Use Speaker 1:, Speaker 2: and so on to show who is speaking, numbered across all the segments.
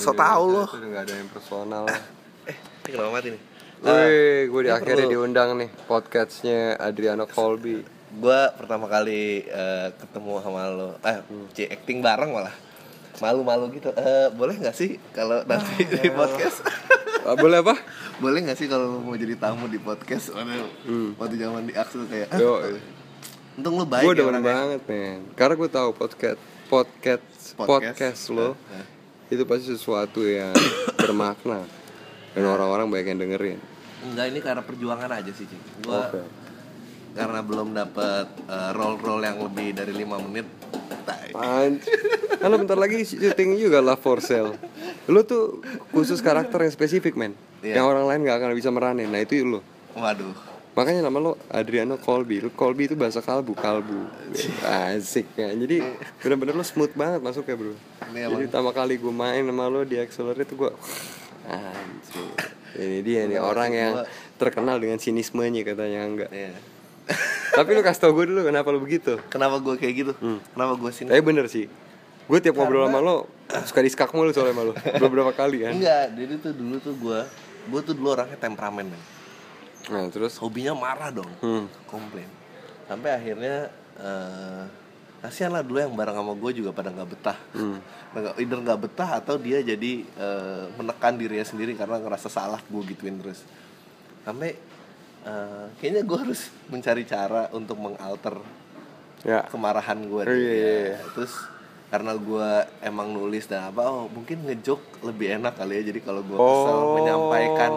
Speaker 1: So tau lo.
Speaker 2: Itu Iya, udah gak ada yang personal lah.
Speaker 3: Eh, ini kenapa mati nih?
Speaker 2: Wih, gue di
Speaker 3: ini
Speaker 2: akhirnya
Speaker 3: perlu-
Speaker 2: diundang nih podcastnya Adriano Colby.
Speaker 3: Gue pertama kali eh, ketemu sama lo, eh, c acting bareng malah malu-malu gitu. Eh, boleh nggak sih kalau nanti di
Speaker 1: ya
Speaker 3: podcast?
Speaker 2: Ah, boleh apa?
Speaker 3: boleh nggak sih kalau lo mau jadi tamu di podcast? Waduh,
Speaker 1: Hmm.
Speaker 3: Waktu zaman di Axel kayak, "Ah,
Speaker 2: Yo,
Speaker 3: untung lo baik
Speaker 2: gue
Speaker 3: ya
Speaker 2: demen
Speaker 3: orangnya."
Speaker 2: banget men. Karena gue tahu podcast podcast
Speaker 3: Podcast. eh,
Speaker 2: podcast lo
Speaker 3: Hah?
Speaker 2: itu pasti sesuatu yang bermakna
Speaker 3: Eh.
Speaker 2: dan orang-orang banyak yang dengerin.
Speaker 3: Enggak, ini karena perjuangan aja sih, Cing. Gue
Speaker 2: Oke.
Speaker 3: karena belum dapat roll-roll yang lebih dari 5 menit. tai.
Speaker 2: Anjir. Kan lo bentar lagi syuting juga lah for sale. Lo tuh khusus karakter yang spesifik men.
Speaker 3: Iya.
Speaker 2: Yang orang lain gak akan bisa meranin. Nah itu lo.
Speaker 3: Waduh.
Speaker 2: Makanya nama lo Adriano Colby. Lo Colby itu bahasa kalbu, kalbu. Asik ya. Jadi bener-bener lo smooth banget masuk ya bro.
Speaker 3: Ini
Speaker 2: Jadi pertama kali gue main sama lo di Accelerate tuh gue anjir. Ini dia nih orang yang terkenal dengan sinismenya katanya enggak.
Speaker 3: Iya.
Speaker 2: Tapi lo kasih tau gue dulu kenapa lo begitu.
Speaker 3: Kenapa gue kayak gitu?
Speaker 1: Hmm.
Speaker 3: Kenapa gue sini?
Speaker 2: Tapi bener sih. Gue tiap ngobrol sama lo suka diskak mulu soalnya sama lo. Beberapa kali kan.
Speaker 3: Enggak, jadi tuh dulu tuh gue Gue tuh dulu orangnya temperamen men.
Speaker 2: Nah, terus
Speaker 3: Hobinya marah dong Komplain Sampai akhirnya eh Kasian lah dulu yang bareng sama gue juga pada nggak betah Nggak- Either nggak betah atau dia jadi eh, Menekan dirinya sendiri karena ngerasa salah gue gituin terus Sampai eh, Kayaknya gue harus mencari cara untuk mengalter
Speaker 2: ya.
Speaker 3: kemarahan gue
Speaker 2: Oh, iya, iya, iya.
Speaker 3: terus karena gue emang nulis dan apa oh mungkin ngejok lebih enak kali ya jadi kalau gue kesel
Speaker 2: Oh.
Speaker 3: menyampaikan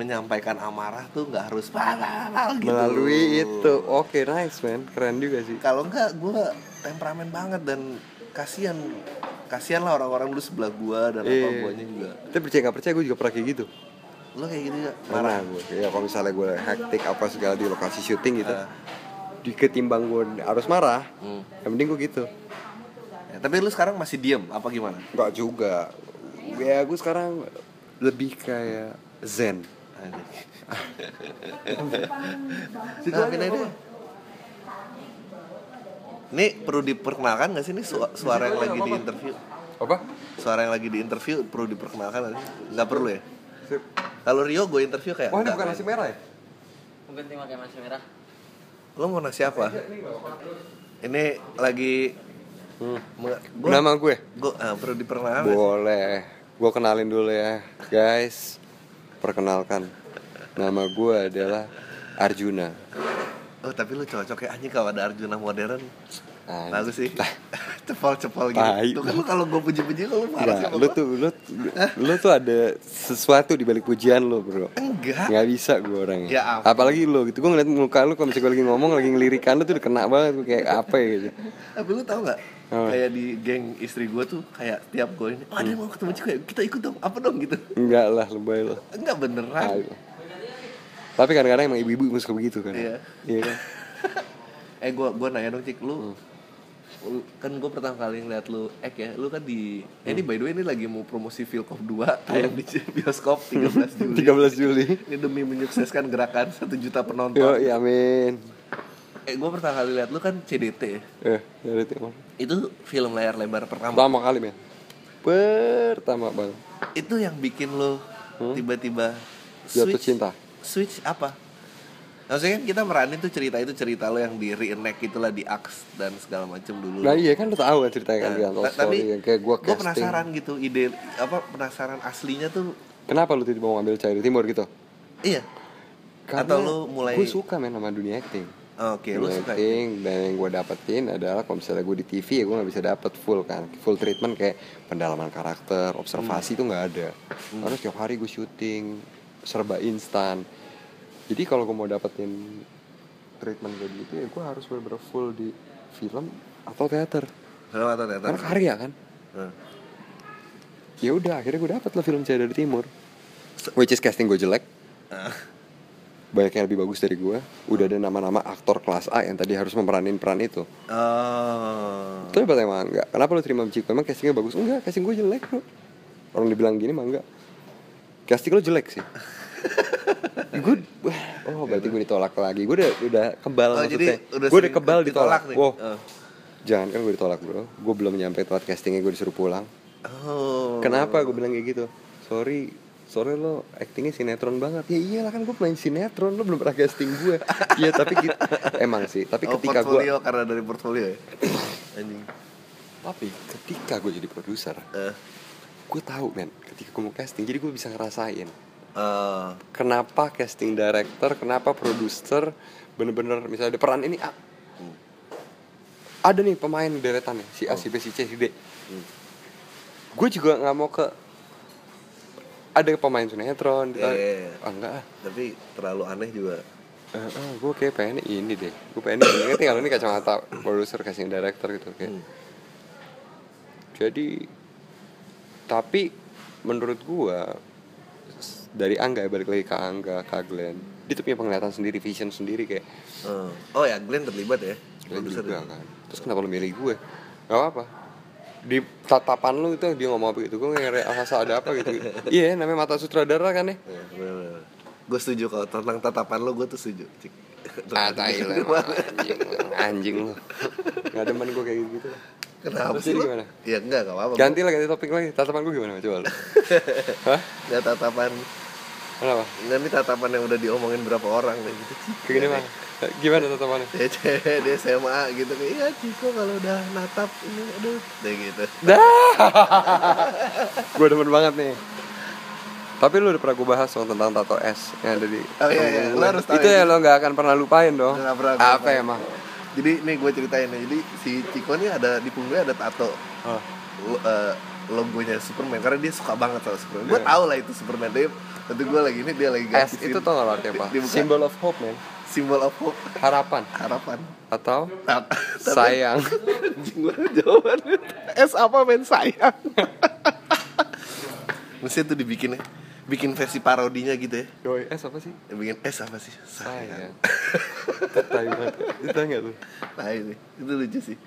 Speaker 3: menyampaikan amarah tuh nggak harus "Wah, wah, wah," gitu
Speaker 2: Melalui iya. itu. Oke, nice man. Keren juga sih.
Speaker 3: kalau enggak gue temperamen banget dan kasihan kasihan lah orang-orang dulu sebelah gue dan apa
Speaker 2: Iya.
Speaker 3: guanya juga
Speaker 2: Tapi percaya nggak percaya gue juga pernah kayak gitu.
Speaker 3: lo kayak gitu gak?
Speaker 2: Parah gue. Ya kalau misalnya gue hektik apa segala di lokasi syuting gitu. Di ketimbang gue harus marah, yang mending gue gitu.
Speaker 3: Ya, tapi lu sekarang masih diem apa gimana
Speaker 2: Enggak juga. Ya gue sekarang lebih kayak zen.
Speaker 3: Situ aja deh. Ini perlu diperkenalkan gak sih ini su- suara yang lagi di interview?
Speaker 2: Apa?
Speaker 3: Suara yang lagi di interview perlu diperkenalkan gak sih? Gak perlu ya? Kalau Rio gue interview kayak
Speaker 2: Wah ini
Speaker 3: nggak.
Speaker 2: bukan nasi merah ya?
Speaker 4: Mungkin tim pakai nasi merah.
Speaker 3: Lo mau nasi apa? Ini lagi
Speaker 2: Hmm.
Speaker 3: Meng- gua,
Speaker 2: Nama gue?
Speaker 3: gua, ah, perlu diperkenalkan nggak sih?
Speaker 2: Boleh. Gue kenalin dulu ya, guys. Perkenalkan, nama gue adalah Arjuna.
Speaker 3: Oh tapi lu cocok ya anjing kalau ada Arjuna modern
Speaker 2: Anjing.
Speaker 3: Bagus sih Cepol-cepol gitu
Speaker 2: Tai.
Speaker 3: Tuh kan lu kalau gue puji-puji lu marah sih
Speaker 2: Nah,
Speaker 3: sama
Speaker 2: lu
Speaker 3: gua.
Speaker 2: tuh lu, lu tuh ada sesuatu di balik pujian lu, Bro.
Speaker 3: Enggak
Speaker 2: Nggak bisa gue orangnya
Speaker 3: Ya ampun.
Speaker 2: Apalagi lu gitu Gue ngeliat muka lu Kalau misalnya gue lagi ngomong Lagi ngelirikan lu tuh udah kena banget Gue kayak apa ya gitu
Speaker 3: Tapi lu tau gak?
Speaker 2: Apa?
Speaker 3: Kayak di geng istri gue tuh kayak tiap gue ini, oh ada yang mau ketemu cewek, kita ikut dong, apa dong gitu.
Speaker 2: Enggak lah lebay lu
Speaker 3: Enggak beneran.
Speaker 2: Tai. Tapi kadang-kadang emang ibu-ibu emang suka begitu kan
Speaker 3: Iya.
Speaker 2: Iya kan
Speaker 3: Eh gue gue nanya dong cik lu, lu- kan gue pertama kali ngeliat lu ek ya, lu kan di, eh, ini by the way ini lagi mau promosi Vilkop 2 tayang di bioskop 13 Juli.
Speaker 2: 13 Juli
Speaker 3: Ini demi menyukseskan gerakan 1 juta penonton.
Speaker 2: Yo, ya amin
Speaker 3: Eh gue pertama kali lihat lu kan CDT ya.
Speaker 2: Eh, dari timur
Speaker 3: Itu film layar lebar pertama.
Speaker 2: Pertama kali men Pertama bang
Speaker 3: Itu yang bikin lu tiba-tiba
Speaker 2: Hmm? Jatuh
Speaker 3: switch.
Speaker 2: cinta
Speaker 3: switch apa? Maksudnya kan kita meranin tuh cerita itu cerita lo yang di reenact itulah di aks dan segala macam dulu.
Speaker 2: Nah iya kan lu tau kan ceritanya kan
Speaker 3: Hmm. Nah,
Speaker 2: Rian Love
Speaker 3: ta- tapi
Speaker 2: Story, yang Kayak gue
Speaker 3: gua
Speaker 2: casting
Speaker 3: penasaran gitu ide apa penasaran aslinya tuh
Speaker 2: Kenapa lu tiba-tiba mau ngambil cair timur gitu?
Speaker 3: iya. Atau lu mulai-
Speaker 2: Gue suka main sama dunia acting
Speaker 3: Oke, lu
Speaker 2: Dunia
Speaker 3: suka. ya?
Speaker 2: acting dan yang gue dapetin adalah kalau misalnya gue di TV ya gue nggak bisa dapet full kan full treatment kayak pendalaman karakter
Speaker 3: Hmm.
Speaker 2: observasi itu nggak ada harus tiap hari gue syuting serba instan jadi kalau gue mau dapetin treatment kayak gitu ya gue harus bener-bener full di film atau teater
Speaker 3: Film atau teater?
Speaker 2: karena karya kan
Speaker 3: Hmm.
Speaker 2: ya udah akhirnya gue dapet lah film Cahaya dari Timur which is casting gue jelek
Speaker 3: Ah,
Speaker 2: banyak yang lebih bagus dari gue udah ada nama-nama aktor kelas A yang tadi harus memeranin peran itu
Speaker 3: Oh.
Speaker 2: itu hebat emang enggak kenapa lu terima Ciko emang castingnya bagus enggak casting gue jelek bro orang dibilang gini mah enggak casting lo jelek sih gue oh berarti gue ditolak lagi gue udah udah kebal
Speaker 3: Oh,
Speaker 2: maksudnya
Speaker 3: jadi udah
Speaker 2: gue udah
Speaker 3: sering
Speaker 2: kebal ditolak,
Speaker 3: ditolak nih.
Speaker 2: wow
Speaker 3: Eh.
Speaker 2: jangan kan gue ditolak bro gue belum nyampe tempat castingnya gue disuruh pulang
Speaker 3: Oh.
Speaker 2: Kenapa gue bilang kayak gitu? Sorry, sorry lo actingnya sinetron banget. Ya iyalah kan gue main sinetron, lo belum pernah casting gue. Iya tapi ki- emang sih. Tapi
Speaker 3: Oh,
Speaker 2: ketika gue,
Speaker 3: portfolio karena dari portfolio ya. Anjing.
Speaker 2: tapi ketika gue jadi produser,
Speaker 3: Eh.
Speaker 2: gue tahu men. Ketika gue mau casting, jadi gue bisa ngerasain.
Speaker 3: eh,
Speaker 2: Kenapa casting director, kenapa produser, bener-bener misalnya ada peran ini A.
Speaker 3: Hmm.
Speaker 2: ada nih pemain deretannya si
Speaker 3: Oh.
Speaker 2: A, si B, si C, si D.
Speaker 3: Hmm.
Speaker 2: Gue juga nggak mau ke ada pemain sinetron,
Speaker 3: Iya,
Speaker 2: ditarik.
Speaker 3: iya, iya.
Speaker 2: ah enggak ah,
Speaker 3: tapi terlalu aneh juga.
Speaker 2: gue kayak pengen ini deh gue pengen ini ngerti kalau ini kacamata produser casting director gitu kayak
Speaker 3: Hmm.
Speaker 2: jadi tapi menurut gue dari Angga ya, balik lagi ke Angga ke Glenn dia tuh punya penglihatan sendiri vision sendiri kayak
Speaker 3: Eh, Oh ya Glenn terlibat ya.
Speaker 2: Glenn
Speaker 3: Produser
Speaker 2: juga
Speaker 3: ya?
Speaker 2: kan terus kenapa lu milih gue gak apa, -apa. di tatapan lu itu dia ngomong apa gitu gue nggak ngerasa ada apa gitu iya namanya mata sutradara kan ya
Speaker 3: Iya, bener-bener. Gue setuju kalau tentang tatapan lo gue tuh setuju. Cik.
Speaker 2: ah tai lu emang anjing anjing lu nggak demen gue kayak gitu
Speaker 3: Kenapa
Speaker 2: Terus
Speaker 3: sih
Speaker 2: jadi
Speaker 3: lo?
Speaker 2: gimana?
Speaker 3: Ya enggak, enggak apa-apa.
Speaker 2: Ganti lah, ganti topik lagi. Tatapan gue gimana coba lu? Hah?
Speaker 3: Enggak Ya, tatapan.
Speaker 2: Kenapa?
Speaker 3: Enggak nih tatapan yang udah diomongin berapa orang nih gitu.
Speaker 2: Kayak gini mah. Gimana tatapannya?
Speaker 3: Cewek di SMA gitu kayak iya Ciko kalau udah natap ini aduh kayak gitu.
Speaker 2: Dah. gue demen banget nih. Tapi lu udah pernah gue bahas dong tentang tato S yang ada di
Speaker 3: Oh, iya, iya. Lu harus tahu
Speaker 2: Itu
Speaker 3: ini.
Speaker 2: ya lo gak akan pernah lupain dong
Speaker 3: Nggak pernah gua
Speaker 2: Apa
Speaker 3: lupain.
Speaker 2: emang?
Speaker 3: Jadi nih gue ceritain nih. Jadi si Ciko nih ada di punggungnya ada tato.
Speaker 2: Oh.
Speaker 3: Lo- eh, logonya Superman karena dia suka banget sama Superman. Gue tau lah itu Superman dia. Tentu gue lagi ini dia lagi
Speaker 2: Iya. S
Speaker 3: gajisin.
Speaker 2: itu tau gak lo artinya apa?
Speaker 3: Di- dibuka.
Speaker 2: Symbol of hope man
Speaker 3: Simbol of hope
Speaker 2: Harapan
Speaker 3: harapan.
Speaker 2: Atau
Speaker 3: Tat-
Speaker 2: sayang
Speaker 3: Anjing gue Nah, jawabannya S apa men sayang Mesti tuh dibikin ya Bikin versi parodinya gitu ya
Speaker 2: Yoi, S apa sih?
Speaker 3: Bikin S apa sih? Sayang
Speaker 2: Sayang Itu tai banget Itu tau gak tuh?
Speaker 3: Nah ini, itu lucu sih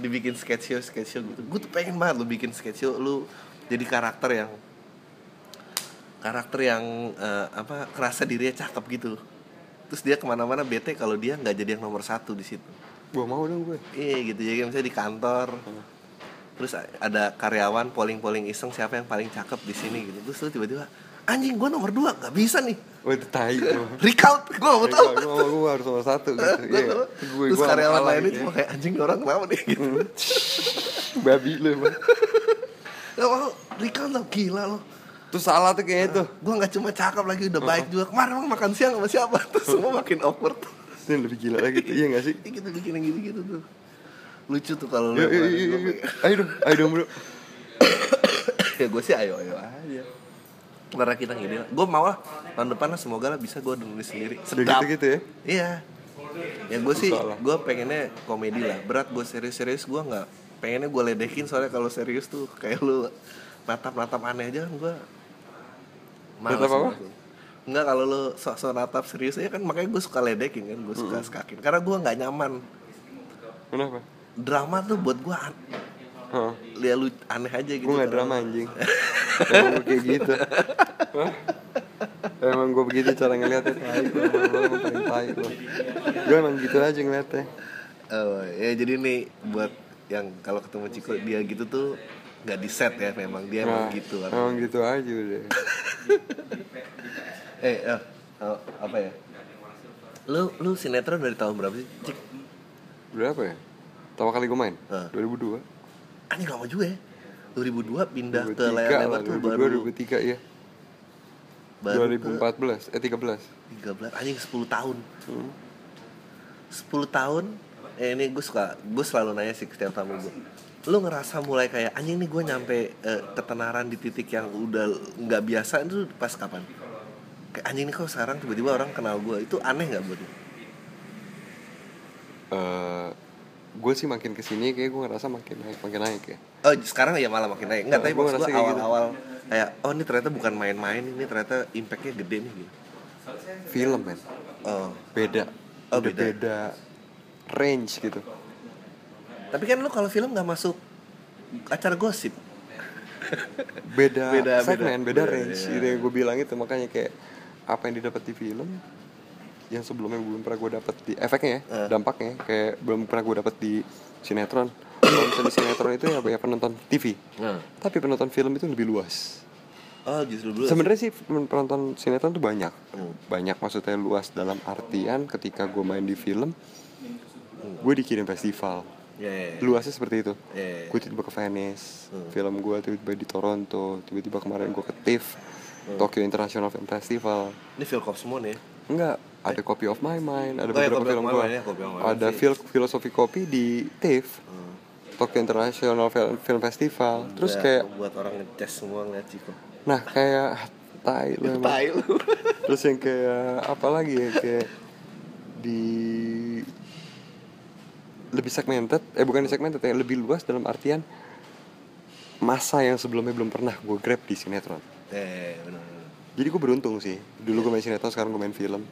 Speaker 3: Dibikin sketch show, sketch show gitu Gue tuh pengen banget lu bikin sketch show Lu jadi karakter yang Karakter yang eh, apa kerasa dirinya cakep gitu Terus dia kemana-mana bete kalau dia nggak jadi yang nomor satu di situ
Speaker 2: Gue mau dong gue
Speaker 3: Iya gitu jadi misalnya di kantor terus a- ada karyawan polling-polling iseng siapa yang paling cakep di sini gitu terus lu tiba-tiba anjing gua nomor dua nggak bisa nih
Speaker 2: Wah Oh, itu tai tuh
Speaker 3: recount gua nggak tahu
Speaker 2: gue gue harus nomor satu
Speaker 3: Gua nggak
Speaker 2: gitu iya
Speaker 3: tahu.
Speaker 2: gue
Speaker 3: terus
Speaker 2: gue
Speaker 3: karyawan lainnya cuma kayak anjing nih orang kenapa nih gitu
Speaker 2: babi lu emang
Speaker 3: gak mau recount lo gila lo
Speaker 2: tuh salah tuh kayaknya tuh
Speaker 3: gua nggak cuma cakep lagi udah baik juga kemarin emang makan siang sama siapa terus semua makin awkward
Speaker 2: ini lebih gila lagi tuh iya gak sih
Speaker 3: Ih, gitu bikin yang gitu-gitu tuh lucu tuh kalau lu
Speaker 2: yuk yuk
Speaker 3: ngelakuin.
Speaker 2: yuk
Speaker 3: Gua
Speaker 2: yuk. ayo dong ayo dong bro
Speaker 3: ya gue sih ayo ayo aja karena kita ngide gue mau lah tahun depan lah semoga lah bisa gue nulis sendiri
Speaker 2: gitu gitu ya
Speaker 3: iya ya gue sih
Speaker 2: Susah lah.
Speaker 3: gue pengennya komedi lah berat gue serius-serius gue nggak pengennya gue ledekin soalnya kalau serius tuh kayak lu natap-natap aneh aja kan gue
Speaker 2: Natap apa?
Speaker 3: Enggak kalau lu sok-sok natap serius ya kan makanya gue suka ledekin kan gue suka skakin karena gue nggak nyaman
Speaker 2: kenapa
Speaker 3: drama tuh buat gue an-
Speaker 2: Heeh.
Speaker 3: lihat lu aneh aja gitu
Speaker 2: gue gak
Speaker 3: kalau-
Speaker 2: drama anjing emang gue kayak gitu Hah? emang gue begitu cara ngeliatnya tai lu, emang lu emang paling tai lu gue emang gitu aja ngeliatnya
Speaker 3: Oh, ya jadi nih buat yang kalau ketemu Ciko dia gitu tuh nggak di set ya memang dia
Speaker 2: Nah,
Speaker 3: emang gitu. kan.
Speaker 2: emang gitu aja udah
Speaker 3: Eh, eh, oh, apa ya? Lu lu sinetron dari tahun berapa sih? Cik,
Speaker 2: berapa ya pertama kali gue main
Speaker 3: Heeh.
Speaker 2: 2002
Speaker 3: anjing lama juga ya. 2002 pindah ke
Speaker 2: 2003
Speaker 3: layar
Speaker 2: lah,
Speaker 3: lebar tuh
Speaker 2: 2002,
Speaker 3: baru
Speaker 2: 2003 ya
Speaker 3: baru ke
Speaker 2: 2014 eh 13
Speaker 3: 13 anjing 10 tahun. 10 tahun. Eh ini gue suka gue selalu nanya sih ke setiap tamu gue. Lu ngerasa mulai kayak anjing nih gue nyampe eh, ketenaran di titik yang udah nggak biasa itu pas kapan? Kayak anjing nih kok sekarang tiba-tiba orang kenal gue itu aneh nggak buat lu?
Speaker 2: Eh gue sih makin kesini kayak gue ngerasa makin naik makin naik ya
Speaker 3: Oh sekarang ya malah makin naik nggak tapi
Speaker 2: Nah, gua
Speaker 3: maksud
Speaker 2: ngerasa
Speaker 3: gue
Speaker 2: kayak gitu.
Speaker 3: awal-awal kayak oh ini ternyata bukan main-main ini ternyata impactnya gede nih gitu.
Speaker 2: film men
Speaker 3: Oh.
Speaker 2: beda
Speaker 3: Oh,
Speaker 2: Udah
Speaker 3: beda.
Speaker 2: beda range gitu
Speaker 3: Tapi kan lu kalau film nggak masuk acara gosip.
Speaker 2: beda
Speaker 3: Beda, beda.
Speaker 2: segmen
Speaker 3: Beda,
Speaker 2: beda, range
Speaker 3: iya.
Speaker 2: gitu yang gue bilang itu makanya kayak apa yang didapat di film
Speaker 3: Eh.
Speaker 2: yang sebelumnya belum pernah gue dapat di efeknya ya, dampaknya kayak belum pernah gue dapat di sinetron nonton sinetron itu ya banyak penonton TV
Speaker 3: Nah.
Speaker 2: tapi penonton film itu lebih luas
Speaker 3: Oh justru dulu. Hmm.
Speaker 2: sebenarnya sih pen- penonton sinetron tuh banyak banyak maksudnya luas dalam artian ketika gue main di film gue dikirim festival
Speaker 3: Ya, ya, ya.
Speaker 2: luasnya seperti itu
Speaker 3: Iya, iya.
Speaker 2: gue tiba ke Venice
Speaker 3: Hmm.
Speaker 2: film gue tiba-tiba di Toronto tiba-tiba kemarin gue ke TIFF
Speaker 3: Hmm.
Speaker 2: Tokyo International Film Festival
Speaker 3: Ini ya. Phil Cox semua nih.
Speaker 2: enggak ada Copy of My Mind
Speaker 3: Oh,
Speaker 2: ada
Speaker 3: iya,
Speaker 2: beberapa
Speaker 3: Copy of
Speaker 2: film
Speaker 3: My
Speaker 2: gue
Speaker 3: Mind, ya, Copy of My Mind
Speaker 2: ada
Speaker 3: sih. Hmm.
Speaker 2: fil filosofi kopi di TIFF Tokyo International Film, Film Festival terus
Speaker 3: Udah
Speaker 2: kayak
Speaker 3: buat orang ngeces semua ngeliat Ciko.
Speaker 2: nah kayak tai lu emang.
Speaker 3: Tai lu.
Speaker 2: terus yang kayak apa lagi ya kayak di lebih segmented eh bukan di segmented ya lebih luas dalam artian masa yang sebelumnya belum pernah gue grab di sinetron
Speaker 3: Eh benar. benar.
Speaker 2: jadi gue beruntung sih dulu gue main sinetron sekarang gue main film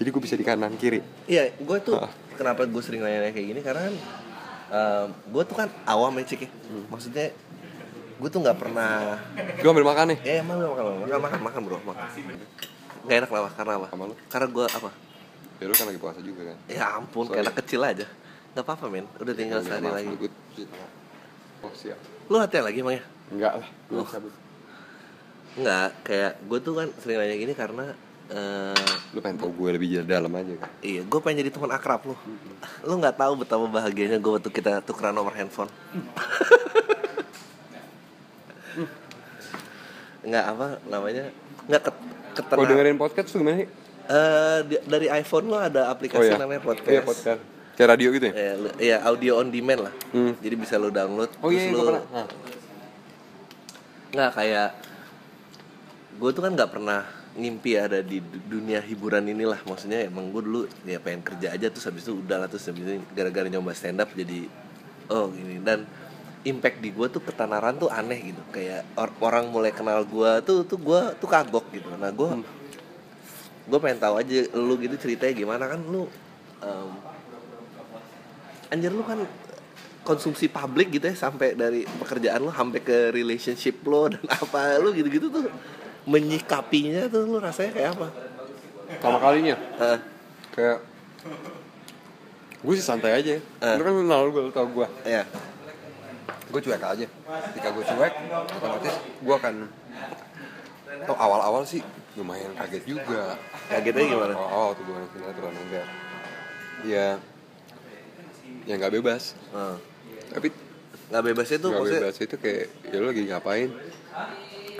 Speaker 2: jadi gue bisa di kanan kiri
Speaker 3: Iya, gue tuh
Speaker 2: Ah.
Speaker 3: kenapa gue sering nanya kayak gini karena kan gue tuh kan awam ya cik ya.
Speaker 2: Hmm.
Speaker 3: Maksudnya gue tuh nggak pernah.
Speaker 2: gue ambil makan nih
Speaker 3: Ya emang lu makan makan makan makan, makan bro makan. Gak enak lah karena apa?
Speaker 2: Sama lu?
Speaker 3: Karena gue apa?
Speaker 2: ya lu kan lagi puasa juga kan
Speaker 3: Ya ampun,
Speaker 2: Sorry.
Speaker 3: kayak anak kecil aja. Gak apa-apa men, udah tinggal
Speaker 2: Udah,
Speaker 3: sehari
Speaker 2: maaf,
Speaker 3: lagi.
Speaker 2: gua- oh siap
Speaker 3: Lu latihan lagi emang ya?
Speaker 2: enggak lah gue
Speaker 3: Oh. Enggak, kayak gue tuh kan sering nanya gini karena eh,
Speaker 2: lu pengen tau gue lebih dalam aja kan
Speaker 3: Iya, gue pengen jadi teman akrab lu. Lu nggak tahu betapa bahagianya gue waktu kita tukeran nomor handphone. Nggak apa namanya? Nggak ket
Speaker 2: kalau
Speaker 3: ketenang.
Speaker 2: Oh, dengerin podcast tuh gimana sih
Speaker 3: Eh, di- dari iPhone lo ada aplikasi namanya podcast.
Speaker 2: Iya podcast. Kayak radio gitu ya?
Speaker 3: Eh, lu- iya, audio on demand lah.
Speaker 2: Hmm.
Speaker 3: Jadi bisa lo download.
Speaker 2: Oh iya, iya,
Speaker 3: terus
Speaker 2: gua
Speaker 3: lu-
Speaker 2: pernah. Nah.
Speaker 3: Nggak kayak gue tuh kan nggak pernah ngimpi ada di du- dunia hiburan inilah maksudnya emang gue dulu ya pengen kerja aja terus habis itu udah lah terus habis itu gara-gara nyoba stand up jadi oh gini dan impact di gue tuh ketanaran tuh aneh gitu kayak or- orang mulai kenal gue tuh tuh gue tuh kagok gitu nah gue gue pengen tahu aja lu gitu ceritanya gimana kan lu em, anjir lu kan konsumsi publik gitu ya sampai dari pekerjaan lu sampai ke relationship lo dan apa lu gitu-gitu tuh menyikapinya tuh lu rasanya kayak apa?
Speaker 2: Pertama nah, kalinya
Speaker 3: Heeh.
Speaker 2: kayak gue sih santai aja. Lu kan kenal gue, lu tau gue.
Speaker 3: ya.
Speaker 2: Gue cuek aja. Ketika gue cuek, otomatis gue akan Oh, awal-awal sih lumayan kaget juga.
Speaker 3: Kagetnya gimana?
Speaker 2: Oh, oh tuh gue main sinetron enggak. Ya, ya nggak bebas.
Speaker 3: Heeh.
Speaker 2: Tapi
Speaker 3: Nggak bebasnya tuh
Speaker 2: nggak
Speaker 3: maksudnya
Speaker 2: bebas itu kayak ya lu lagi ngapain?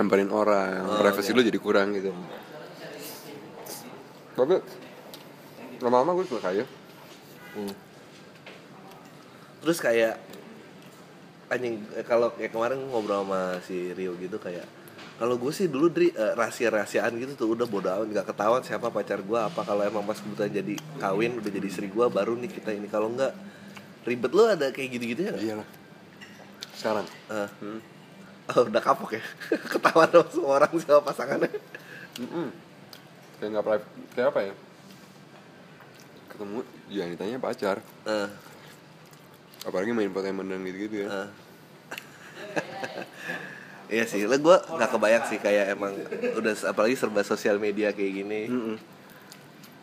Speaker 2: Amperin orang, privacy lu jadi kurang gitu. Tapi lama-lama ya. gue suka aja.
Speaker 3: Hmm. Terus kayak anjing eh, kalau kayak kemarin ngobrol sama si Rio gitu kayak kalau gue sih dulu dari rahasia-rahasiaan gitu tuh udah bodo amat nggak ketahuan siapa pacar gue apa kalau emang pas kebetulan jadi kawin udah jadi istri gue baru nih kita ini kalau nggak ribet lo ada kayak gitu-gitu ya nggak?
Speaker 2: Iyalah. Sekarang.
Speaker 3: Eh. Oh, udah kapok ya ketahuan sama semua orang sama pasangannya
Speaker 2: Kayak nggak private, kayak apa ya? Ketemu ya ditanya pacar,
Speaker 3: Eh,
Speaker 2: apalagi main Pokemon dan gitu-gitu ya.
Speaker 3: eh. Iya sih, lah gue nggak kebayang sih kayak emang udah apalagi serba sosial media kayak gini.
Speaker 2: Ah.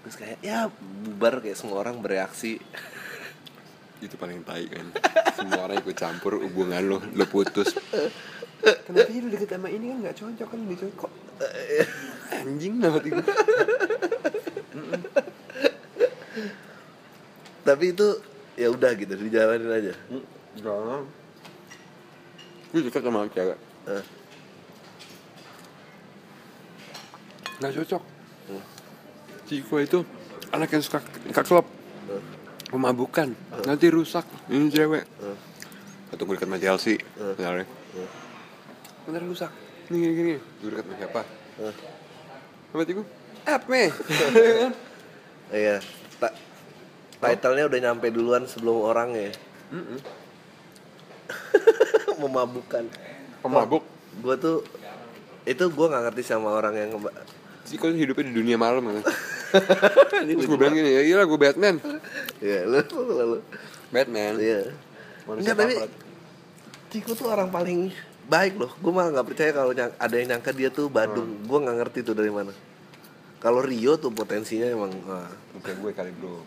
Speaker 3: Terus kayak ya bubar kayak semua orang bereaksi.
Speaker 2: Itu paling tai kan. Semua orang ikut campur hubungan lo, lo putus. Kenapa sih lu deket sama ini kan nggak cocok kan lebih cocok. Anjing banget itu.
Speaker 3: Tapi itu ya udah gitu dijalanin aja.
Speaker 2: Jangan. Gue deket sama cewek.
Speaker 3: Eh,
Speaker 2: nggak cocok
Speaker 3: Hmm.
Speaker 2: si Iko itu anak yang suka ke klub
Speaker 3: eh,
Speaker 2: memabukan nanti rusak ini cewek
Speaker 3: Hmm.
Speaker 2: atau gue dekat sama Chelsea
Speaker 3: Hmm.
Speaker 2: misalnya
Speaker 3: eh,
Speaker 2: nanti rusak ini gini gini gue dekat sama siapa
Speaker 3: eh.
Speaker 2: sama gue up meh
Speaker 3: Iya. Ta title-nya udah nyampe duluan sebelum orang ya. Memabukan.
Speaker 2: pemabuk
Speaker 3: Gue tuh itu gue nggak ngerti sama orang yang ngeba-
Speaker 2: si Iko hidupnya di dunia malam kan terus gue bilang gini ya iyalah gue Batman
Speaker 3: ya lu lu lu
Speaker 2: Batman
Speaker 3: iya enggak
Speaker 2: Manusia
Speaker 3: tapi
Speaker 2: kampret.
Speaker 3: Ciko tuh orang paling baik loh gue malah nggak percaya kalau nyang- ada yang nyangka dia tuh Badung
Speaker 2: Hmm.
Speaker 3: gue nggak ngerti tuh dari mana kalau Rio tuh potensinya emang wah.
Speaker 2: muka gue kali bro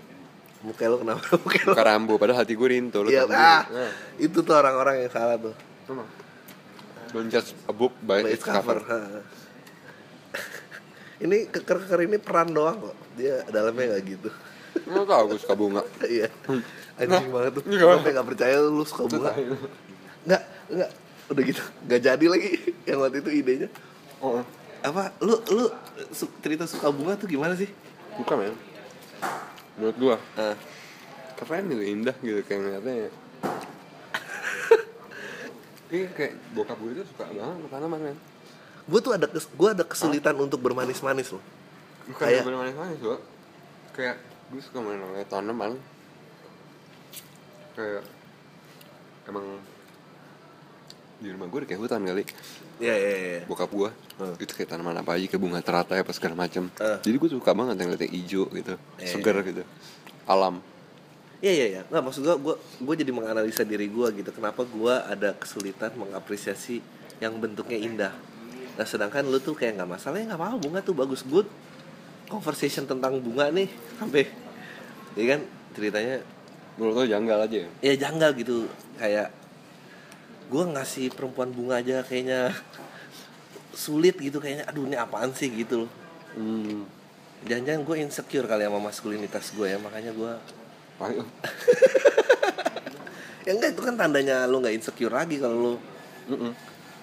Speaker 3: muka lo kenapa muka lo
Speaker 2: Buka rambu, padahal hati gue rintu. Lu
Speaker 3: Iya,
Speaker 2: tahu
Speaker 3: ah,
Speaker 2: sendiri. Nah,
Speaker 3: itu tuh orang-orang yang salah tuh
Speaker 2: Don't judge a book by
Speaker 3: By
Speaker 2: its cover.
Speaker 3: Ha. ini keker-keker ini peran doang kok dia dalamnya nggak gitu
Speaker 2: Lu tau gue suka bunga.
Speaker 3: iya
Speaker 2: Hmm.
Speaker 3: anjing banget tuh
Speaker 2: Iya.
Speaker 3: sampai nggak percaya lu suka bunga nggak nggak udah gitu nggak jadi lagi yang waktu itu idenya
Speaker 2: Oh,
Speaker 3: apa lu lu su- cerita suka bunga tuh gimana sih
Speaker 2: bukan ya. Menurut gue,
Speaker 3: Ah,
Speaker 2: keren gitu, indah gitu kayak ngeliatnya. Ini Iya, kayak bokap gue itu suka banget sama tanaman men.
Speaker 3: gue tuh ada kes, gue ada kesulitan untuk bermanis-manis loh
Speaker 2: Bukan
Speaker 3: Kayak-
Speaker 2: kayak manis manis loh. Kayak gue suka main sama tanaman. Kayak emang di rumah gue ada kayak hutan kali.
Speaker 3: ya ya ya
Speaker 2: bokap gua
Speaker 3: Hmm.
Speaker 2: itu kayak tanaman apa aja kayak bunga teratai apa segala macam
Speaker 3: Eh.
Speaker 2: jadi gue suka banget yang liatnya hijau gitu
Speaker 3: Iya,
Speaker 2: segar gitu alam
Speaker 3: Iya iya iya. Nggak maksud gua gua gua jadi menganalisa diri gua gitu. Kenapa gua ada kesulitan mengapresiasi yang bentuknya indah. Nah, sedangkan lu tuh kayak nggak masalah ya nggak apa-apa bunga tuh bagus good. Conversation tentang bunga nih sampai ya kan ceritanya
Speaker 2: menurut lo janggal aja ya?
Speaker 3: ya janggal gitu kayak gua ngasih perempuan bunga aja kayaknya sulit gitu kayaknya aduh ini apaan sih gitu loh
Speaker 2: hmm
Speaker 3: jangan-jangan gue insecure kali ya sama maskulinitas gue ya makanya gua
Speaker 2: ayo
Speaker 3: ya enggak itu kan tandanya lu nggak insecure lagi kalau lu
Speaker 2: Mm-mm.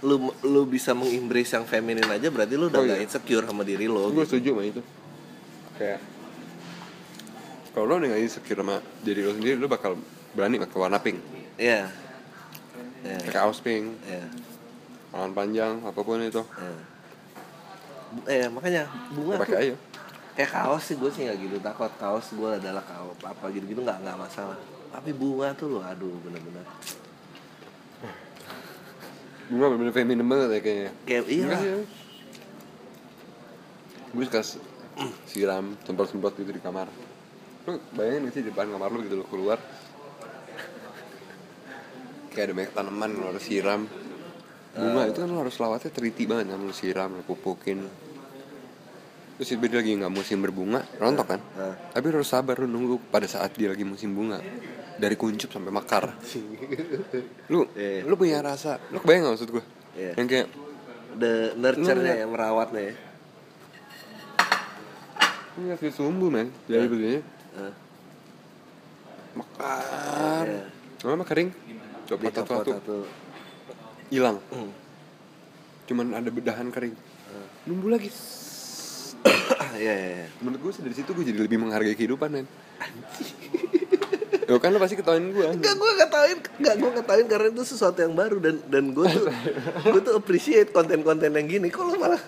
Speaker 3: lu lu bisa mengimbris yang feminin aja berarti lu udah
Speaker 2: Oh,
Speaker 3: nggak
Speaker 2: iya.
Speaker 3: insecure sama diri lu
Speaker 2: gue
Speaker 3: gitu.
Speaker 2: setuju sama itu kayak kalau lo dengan insecure sama diri lo sendiri lo bakal berani pakai warna pink
Speaker 3: Iya. Iya.
Speaker 2: pakai kaos pink
Speaker 3: Iya.
Speaker 2: lengan panjang apapun itu
Speaker 3: Iya. Bu- Eh makanya bunga tuh
Speaker 2: pakai aja
Speaker 3: kayak kaos sih gue sih nggak gitu takut kaos gue adalah kaos apa gitu gitu nggak nggak masalah tapi bunga tuh lo aduh bener-bener
Speaker 2: bunga bener-bener feminin banget ya kayaknya
Speaker 3: kayak iya lah.
Speaker 2: gue suka s- siram semprot-semprot gitu di kamar lu bayangin gak sih di depan kamar lu gitu lu keluar kayak ada banyak tanaman lu harus siram
Speaker 3: Ah.
Speaker 2: bunga itu kan lu harus lawatnya teliti banget kan lu siram lu pupukin terus itu dia lagi nggak musim berbunga rontok kan
Speaker 3: Ah.
Speaker 2: tapi lu harus sabar lu nunggu pada saat dia lagi musim bunga dari kuncup sampai mekar lu
Speaker 3: Iya, iya.
Speaker 2: lu punya rasa lu kebayang gak maksud gue
Speaker 3: Iya.
Speaker 2: yang kayak
Speaker 3: the nurture-nya
Speaker 2: Lu-
Speaker 3: ya merawatnya ya.
Speaker 2: Ini ngasih Iya, sumbu men Dari belinya
Speaker 3: Eh,
Speaker 2: Mekar
Speaker 3: Iya.
Speaker 2: Lama kering Coba
Speaker 3: dicopot
Speaker 2: satu
Speaker 3: satu.
Speaker 2: Hilang
Speaker 3: Hmm.
Speaker 2: Cuman ada bedahan kering Nunggu lagi
Speaker 3: Iya iya iya.
Speaker 2: Menurut gue sih dari situ gue jadi lebih menghargai kehidupan men Yo kan lo pasti ketawain gue
Speaker 3: Enggak gue ketawain, enggak gue ketawain karena itu sesuatu yang baru dan dan gue tuh gue tuh appreciate konten-konten yang gini. Kok lu malah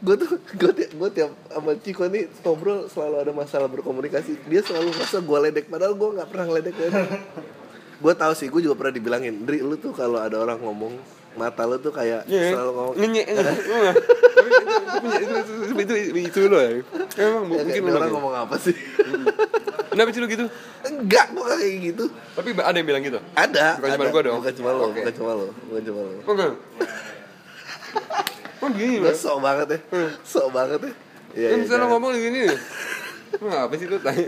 Speaker 3: gue tuh gue tiap gue tiap sama Ciko nih ngobrol selalu ada masalah berkomunikasi. Dia selalu merasa gue ledek padahal gue nggak pernah ledek ledek. gue tahu sih gue juga pernah dibilangin, Dri lu tuh kalau ada orang ngomong mata lu tuh kayak
Speaker 2: Iya
Speaker 3: selalu ngomong
Speaker 2: Ngenye Ngenye. Iya. Tapi itu- itu- itu- itu- itu- itu- Itu lo
Speaker 3: "Ya,
Speaker 2: ya Emang
Speaker 3: kayak,
Speaker 2: mungkin lo
Speaker 3: "Ini orang
Speaker 2: kayak-
Speaker 3: ngomong apa sih?
Speaker 2: Kenapa sih lo gitu?
Speaker 3: enggak gue kayak gitu.
Speaker 2: Tapi ada yang bilang gitu
Speaker 3: Ada,
Speaker 2: Bukan cuma
Speaker 3: ada.
Speaker 2: gua dong?
Speaker 3: Bukan cuma lo,
Speaker 2: Oke.
Speaker 3: bukan cuma lo, bukan cuma lo.
Speaker 2: Oh enggak Oh gini
Speaker 3: Lo
Speaker 2: men
Speaker 3: sok banget ya, sok banget ya. Iya, iya,
Speaker 2: Kan misalnya
Speaker 3: jangan.
Speaker 2: ngomong gini ya. Lu apa sih lu tanya?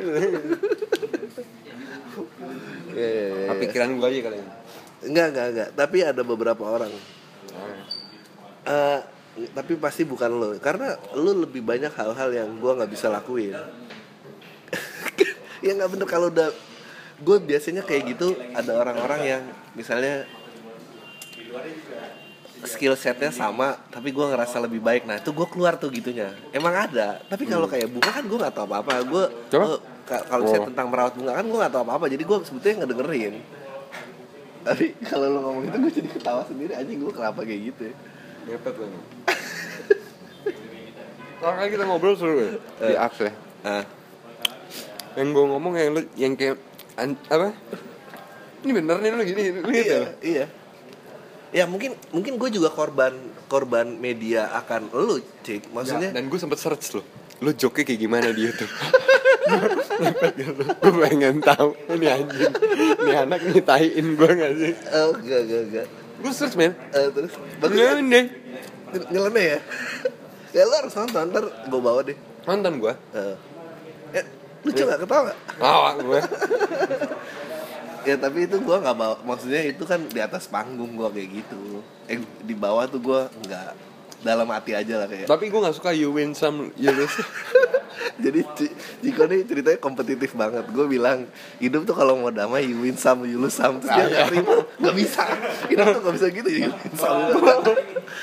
Speaker 3: Iya, iya, iya.
Speaker 2: Nah, pikiran gua aja kali ini.
Speaker 3: Enggak, enggak, enggak. Tapi ada beberapa orang. Eh, tapi pasti bukan lo, karena lo lebih banyak hal-hal yang gua nggak bisa lakuin. ya nggak bener kalau udah gue biasanya kayak gitu ada orang-orang yang misalnya skill setnya sama tapi gue ngerasa lebih baik nah itu gue keluar tuh gitunya emang ada tapi kalau kayak bunga kan gue nggak tahu apa apa gue
Speaker 2: Coba.
Speaker 3: eh, ka- kalau misalnya
Speaker 2: Oh.
Speaker 3: tentang merawat bunga kan gue nggak tahu apa apa jadi gue sebetulnya nggak dengerin tapi kalau lo ngomong itu gue jadi ketawa sendiri anjing gue kenapa kayak gitu ya
Speaker 2: Ngepet lu. Kalau kali kita ngobrol seru ya di apps ya.
Speaker 3: ah
Speaker 2: Yang gua ngomong yang lu yang kayak an- apa? Ini bener nih lu gini, lu gitu.
Speaker 3: iya, iya ya mungkin mungkin gue juga korban korban media akan lo cik maksudnya
Speaker 2: Dan gue sempet search lo Lu joke kayak gimana di YouTube? gue pengen tahu ini anjing ini anak nyitain gue gak sih
Speaker 3: oh, enggak enggak enggak
Speaker 2: gue search men
Speaker 3: Eh, terus bagus ya?
Speaker 2: Bener deh
Speaker 3: Nyel- nyeleneh ya ya lo harus nonton ntar gue bawa deh
Speaker 2: nonton gue
Speaker 3: Eh, ya, lucu gak ketawa nggak?
Speaker 2: Awak gue.
Speaker 3: ya tapi itu gua nggak bawa maksudnya itu kan di atas panggung gua kayak gitu eh di bawah tuh gua nggak dalam hati aja lah kayak
Speaker 2: Tapi gue gak suka you win some, you lose.
Speaker 3: jadi Ci- Ciko nih ceritanya kompetitif banget gue bilang hidup tuh kalau mau damai you win some you lose some terus dia nggak terima nggak bisa hidup tuh nggak bisa gitu you win some you lose some.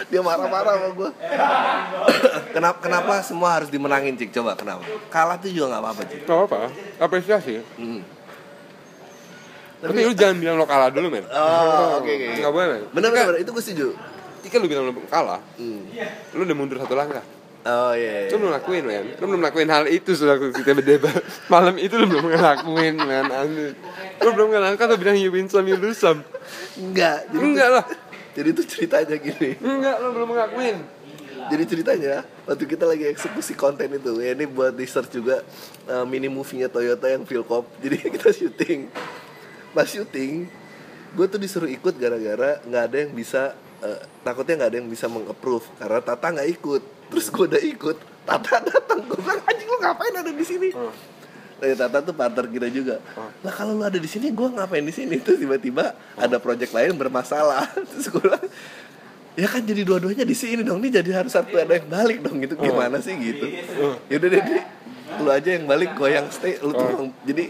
Speaker 3: dia marah-marah sama gue kenapa kenapa semua harus dimenangin cik coba kenapa kalah tuh juga nggak apa-apa cik
Speaker 2: Gak apa-apa, apresiasi.
Speaker 3: Hmm.
Speaker 2: Tapi, lu jangan bilang lo kalah dulu men.
Speaker 3: oh oke oke
Speaker 2: Gak boleh men.
Speaker 3: bener
Speaker 2: Jika-
Speaker 3: bener itu gue setuju
Speaker 2: Jika lu bilang lo kalah,
Speaker 3: Hmm.
Speaker 2: lu udah mundur satu langkah.
Speaker 3: oh iya
Speaker 2: Lu belum lakuin men. Lu belum lakuin hal itu setelah kita berdebat. Malam itu lu belum ngelakuin men. Asli. Lu belum ngelakuin kan lu bilang you win some, you lose some.
Speaker 3: enggak jadi tuh-
Speaker 2: Enggak lah.
Speaker 3: jadi tuh ceritanya gini
Speaker 2: Enggak, lu belum ngakuin.
Speaker 3: Jadi ceritanya waktu kita lagi eksekusi konten itu, ya ini buat research juga eh, mini movie-nya Toyota yang Philcop. Jadi kita syuting. Pas syuting, gue tuh disuruh ikut gara-gara nggak ada yang bisa eh, takutnya nggak ada yang bisa meng-approve karena Tata nggak ikut. Terus gue udah ikut, Tata datang gue bilang anjing lu ngapain ada di sini? Nah, ya, Tata tuh partner kita juga. Lah kalau lu ada di sini, gue ngapain di sini? Terus tiba-tiba ada project lain bermasalah. Terus gue bilang, ya kan jadi dua-duanya di sini dong. Ini jadi harus satu ada yang balik dong gitu. Gimana sih gitu? Yaudah deh, Di. lu aja yang balik, gue yang stay. Lu tuh yang- jadi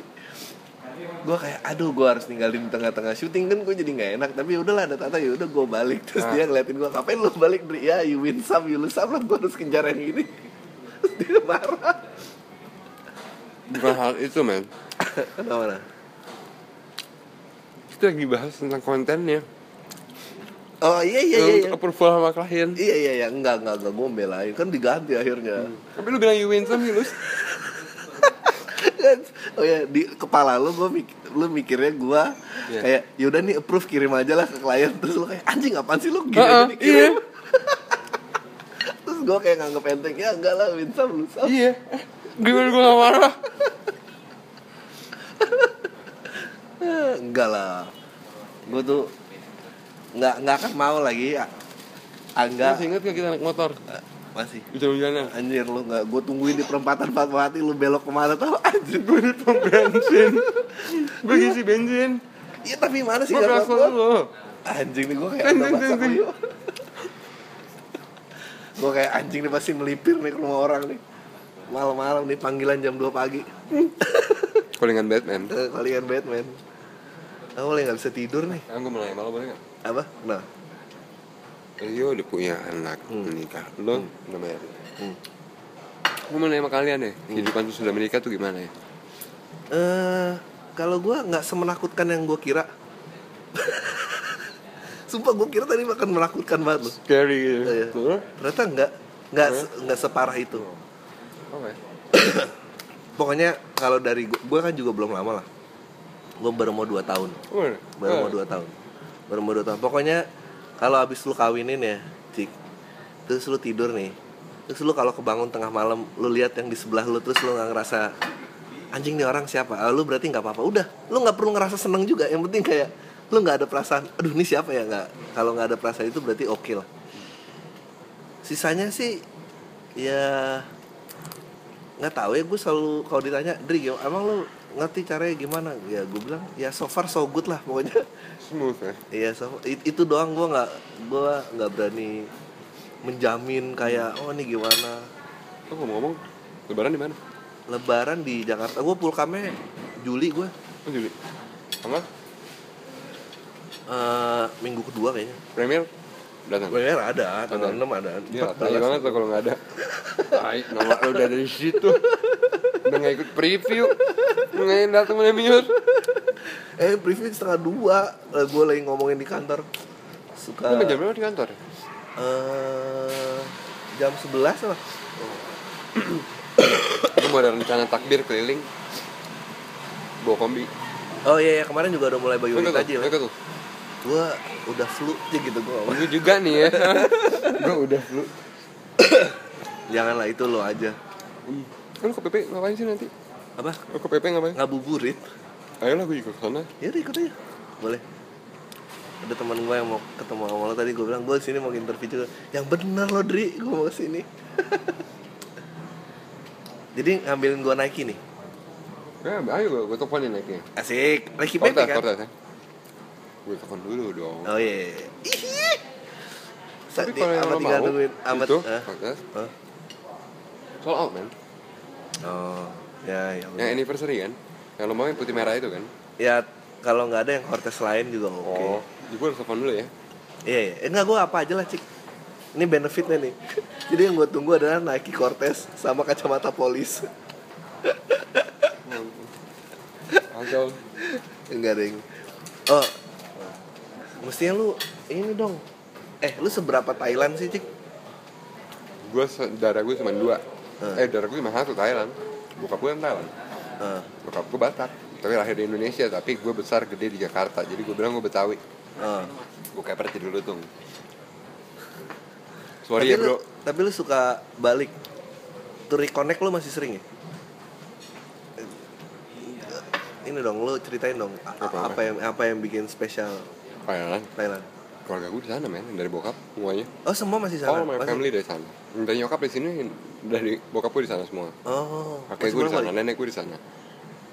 Speaker 3: gue kayak aduh gue harus ninggalin di tengah-tengah syuting kan gue jadi nggak enak tapi udahlah ada tata ya udah gue balik terus dia ngeliatin gue ngapain lu balik Dri? ya you win some you lose some lah gue harus kejar yang ini terus dia marah
Speaker 2: Bukan hal itu men.
Speaker 3: kenapa nah?
Speaker 2: Kita lagi bahas tentang kontennya.
Speaker 3: oh iya iya iya iya
Speaker 2: Untuk approval sama klien.
Speaker 3: iya iya iya enggak enggak enggak gue belain kan diganti akhirnya
Speaker 2: Tapi lu bilang you win some, you lose.
Speaker 3: oh ya di kepala lu gue mik lu mikirnya gue
Speaker 2: Iya.
Speaker 3: kayak yaudah nih approve kirim aja lah ke klien terus lu kayak anjing apaan sih lu gini
Speaker 2: Heeh,
Speaker 3: aja
Speaker 2: iya.
Speaker 3: dikirim terus gue kayak nganggep enteng ya enggak lah win some lose some."
Speaker 2: Iya. Gimana gue gak marah?
Speaker 3: Eh, enggak lah gue tuh nggak nggak akan mau lagi ya
Speaker 2: Enggak.
Speaker 3: angga
Speaker 2: Masih inget gak kita naik motor?
Speaker 3: Eh, masih
Speaker 2: Di jalan-jalan.
Speaker 3: anjir lu nggak gue tungguin di perempatan Fatmawati lu belok kemana tau anjir
Speaker 2: Gue di pom bensin. Gue ngisi bensin.
Speaker 3: iya tapi mana sih
Speaker 2: Gue
Speaker 3: nggak
Speaker 2: berasa
Speaker 3: apa-apa.
Speaker 2: dulu.
Speaker 3: anjing nih gue kayak
Speaker 2: Ting,
Speaker 3: ada
Speaker 2: ting,
Speaker 3: masa
Speaker 2: ting, ting.
Speaker 3: gue kayak anjing nih pasti melipir nih ke rumah orang nih malam-malam nih panggilan jam 2 pagi
Speaker 2: Callingan Batman.
Speaker 3: Eh, kalian Batman aku mulai nggak bisa tidur nih
Speaker 2: Kan gue mulai malu boleh gak?
Speaker 3: apa nah
Speaker 2: Rio Eh, udah punya anak menikah. Lo udah Hmm. married. Gue Hmm. mau nanya sama kalian deh, kehidupan sudah menikah tuh gimana ya?
Speaker 3: Eh, kalau gue nggak semenakutkan yang gue kira. Sumpah gue kira tadi makan menakutkan banget loh.
Speaker 2: Scary gitu.
Speaker 3: Iya.
Speaker 2: Betul?
Speaker 3: Ternyata nggak nggak se- nggak separah itu.
Speaker 2: Oke.
Speaker 3: Pokoknya kalau dari gue kan juga belum lama lah. Gue baru mau 2 tahun.
Speaker 2: ya? Bener?
Speaker 3: Baru
Speaker 2: Eh.
Speaker 3: mau 2 tahun. Baru mau 2 tahun. Pokoknya kalau abis lu kawinin ya, Cik. Terus lu tidur nih. Terus lu kalau kebangun tengah malam, lu lihat yang di sebelah lu terus lu nggak ngerasa anjing nih orang siapa? Ah, lu berarti nggak apa-apa. Udah, lu nggak perlu ngerasa seneng juga. Yang penting kayak lu nggak ada perasaan. Aduh, ini siapa ya nggak? Kalau nggak ada perasaan itu berarti oke lah. Sisanya sih ya nggak tahu ya gue selalu kalau ditanya Dri gim- emang lu ngerti caranya gimana ya gue bilang ya so far so good lah pokoknya
Speaker 2: Smooth ya?
Speaker 3: Iya, so- it- itu doang gue nggak gue nggak berani menjamin kayak oh ini gimana
Speaker 2: Lo ngomong-ngomong, lebaran di mana?
Speaker 3: Lebaran di Jakarta gue pulkamnya Juli gue
Speaker 2: Oh Juli. Sama?
Speaker 3: eh, minggu kedua kayaknya.
Speaker 2: Premier? Datang.
Speaker 3: Bener ada, tanggal
Speaker 2: Ada.
Speaker 3: 6 ada.
Speaker 2: Gila,
Speaker 3: 14.
Speaker 2: tai banget lo kalau nggak ada Tai, nama lo udah dari situ Udah nggak ikut preview Nggak datang mulai minut
Speaker 3: Eh preview setengah dua, gue lagi ngomongin di kantor
Speaker 2: Lo
Speaker 3: suka
Speaker 2: nggak jam berapa di kantor? ya?
Speaker 3: eh, jam 11 lah.
Speaker 2: Lo mau ada rencana takbir keliling Bawa kombi
Speaker 3: Oh iya, iya, kemarin juga udah mulai bayi
Speaker 2: Lo
Speaker 3: unit
Speaker 2: ikut tuh,
Speaker 3: aja
Speaker 2: lo ikut tuh
Speaker 3: Gue udah flu aja gitu gue
Speaker 2: Gue juga nih ya Gue udah lu
Speaker 3: Janganlah itu lo aja
Speaker 2: Lo ke PP ngapain sih nanti?
Speaker 3: Apa?
Speaker 2: Lo ke PP ngapain?
Speaker 3: Ngabuburit
Speaker 2: Ayolah gue ikut sana
Speaker 3: Ya udah, ikut aja Boleh Ada teman gue yang mau ketemu sama lo tadi Gue bilang, gue sini mau interview juga Yang bener lo Dri, gue mau kesini Jadi ngambilin gue Nike nih
Speaker 2: Ya, ayo gue teleponin ya kayaknya.
Speaker 3: Asik, lagi baik
Speaker 2: Kortes,
Speaker 3: kan?
Speaker 2: kortes ya. Gue telepon dulu dong.
Speaker 3: Oh iya. Ihi.
Speaker 2: Tapi
Speaker 3: Saat
Speaker 2: kalau yang
Speaker 3: amat
Speaker 2: lo
Speaker 3: tinggal
Speaker 2: mau,
Speaker 3: nungguin amat.
Speaker 2: itu,
Speaker 3: eh,
Speaker 2: kortes,
Speaker 3: eh.
Speaker 2: sold out man.
Speaker 3: Oh, ya ya. udah.
Speaker 2: Yang anniversary kan? Yang lo mau yang putih merah itu kan?
Speaker 3: Ya kalau nggak ada yang hortes lain juga oke.
Speaker 2: Oh, gue harus telepon dulu ya.
Speaker 3: Iya, iya. enggak gue apa aja lah cik. Ini benefitnya nih. Jadi yang gue tunggu adalah Nike Cortez sama kacamata polis.
Speaker 2: Ancol.
Speaker 3: Enggak ding. Oh, mestinya lu ini dong. Eh, lu seberapa Thailand sih cik?
Speaker 2: Gue darah gue cuma dua.
Speaker 3: Hmm.
Speaker 2: Eh darah gue cuma satu Thailand. Bokap gue kan Thailand.
Speaker 3: Eh,
Speaker 2: Bokap gue Batak. Tapi lahir di Indonesia. Tapi gue besar gede di Jakarta. Jadi gue bilang gue Betawi.
Speaker 3: eh.
Speaker 2: Gue kayak dulu tuh. Sorry ya
Speaker 3: Tapi lu-
Speaker 2: bro.
Speaker 3: tapi lu suka balik. To reconnect lu masih sering ya? Eh, Ini dong, lu ceritain dong a- a-
Speaker 2: Apa-apa?
Speaker 3: apa yang apa yang bikin spesial
Speaker 2: Thailand.
Speaker 3: Thailand.
Speaker 2: Oh, ya, Keluarga gue di sana men. Dari bokap semuanya.
Speaker 3: Oh semua masih sana?
Speaker 2: All my
Speaker 3: Masih-
Speaker 2: family dari sana. Dari nyokap di sini. Dari bokap gue di sana semua.
Speaker 3: Oh, masih
Speaker 2: Kakek gue di
Speaker 3: belum
Speaker 2: sana.
Speaker 3: balik?
Speaker 2: Nenek gue di sana.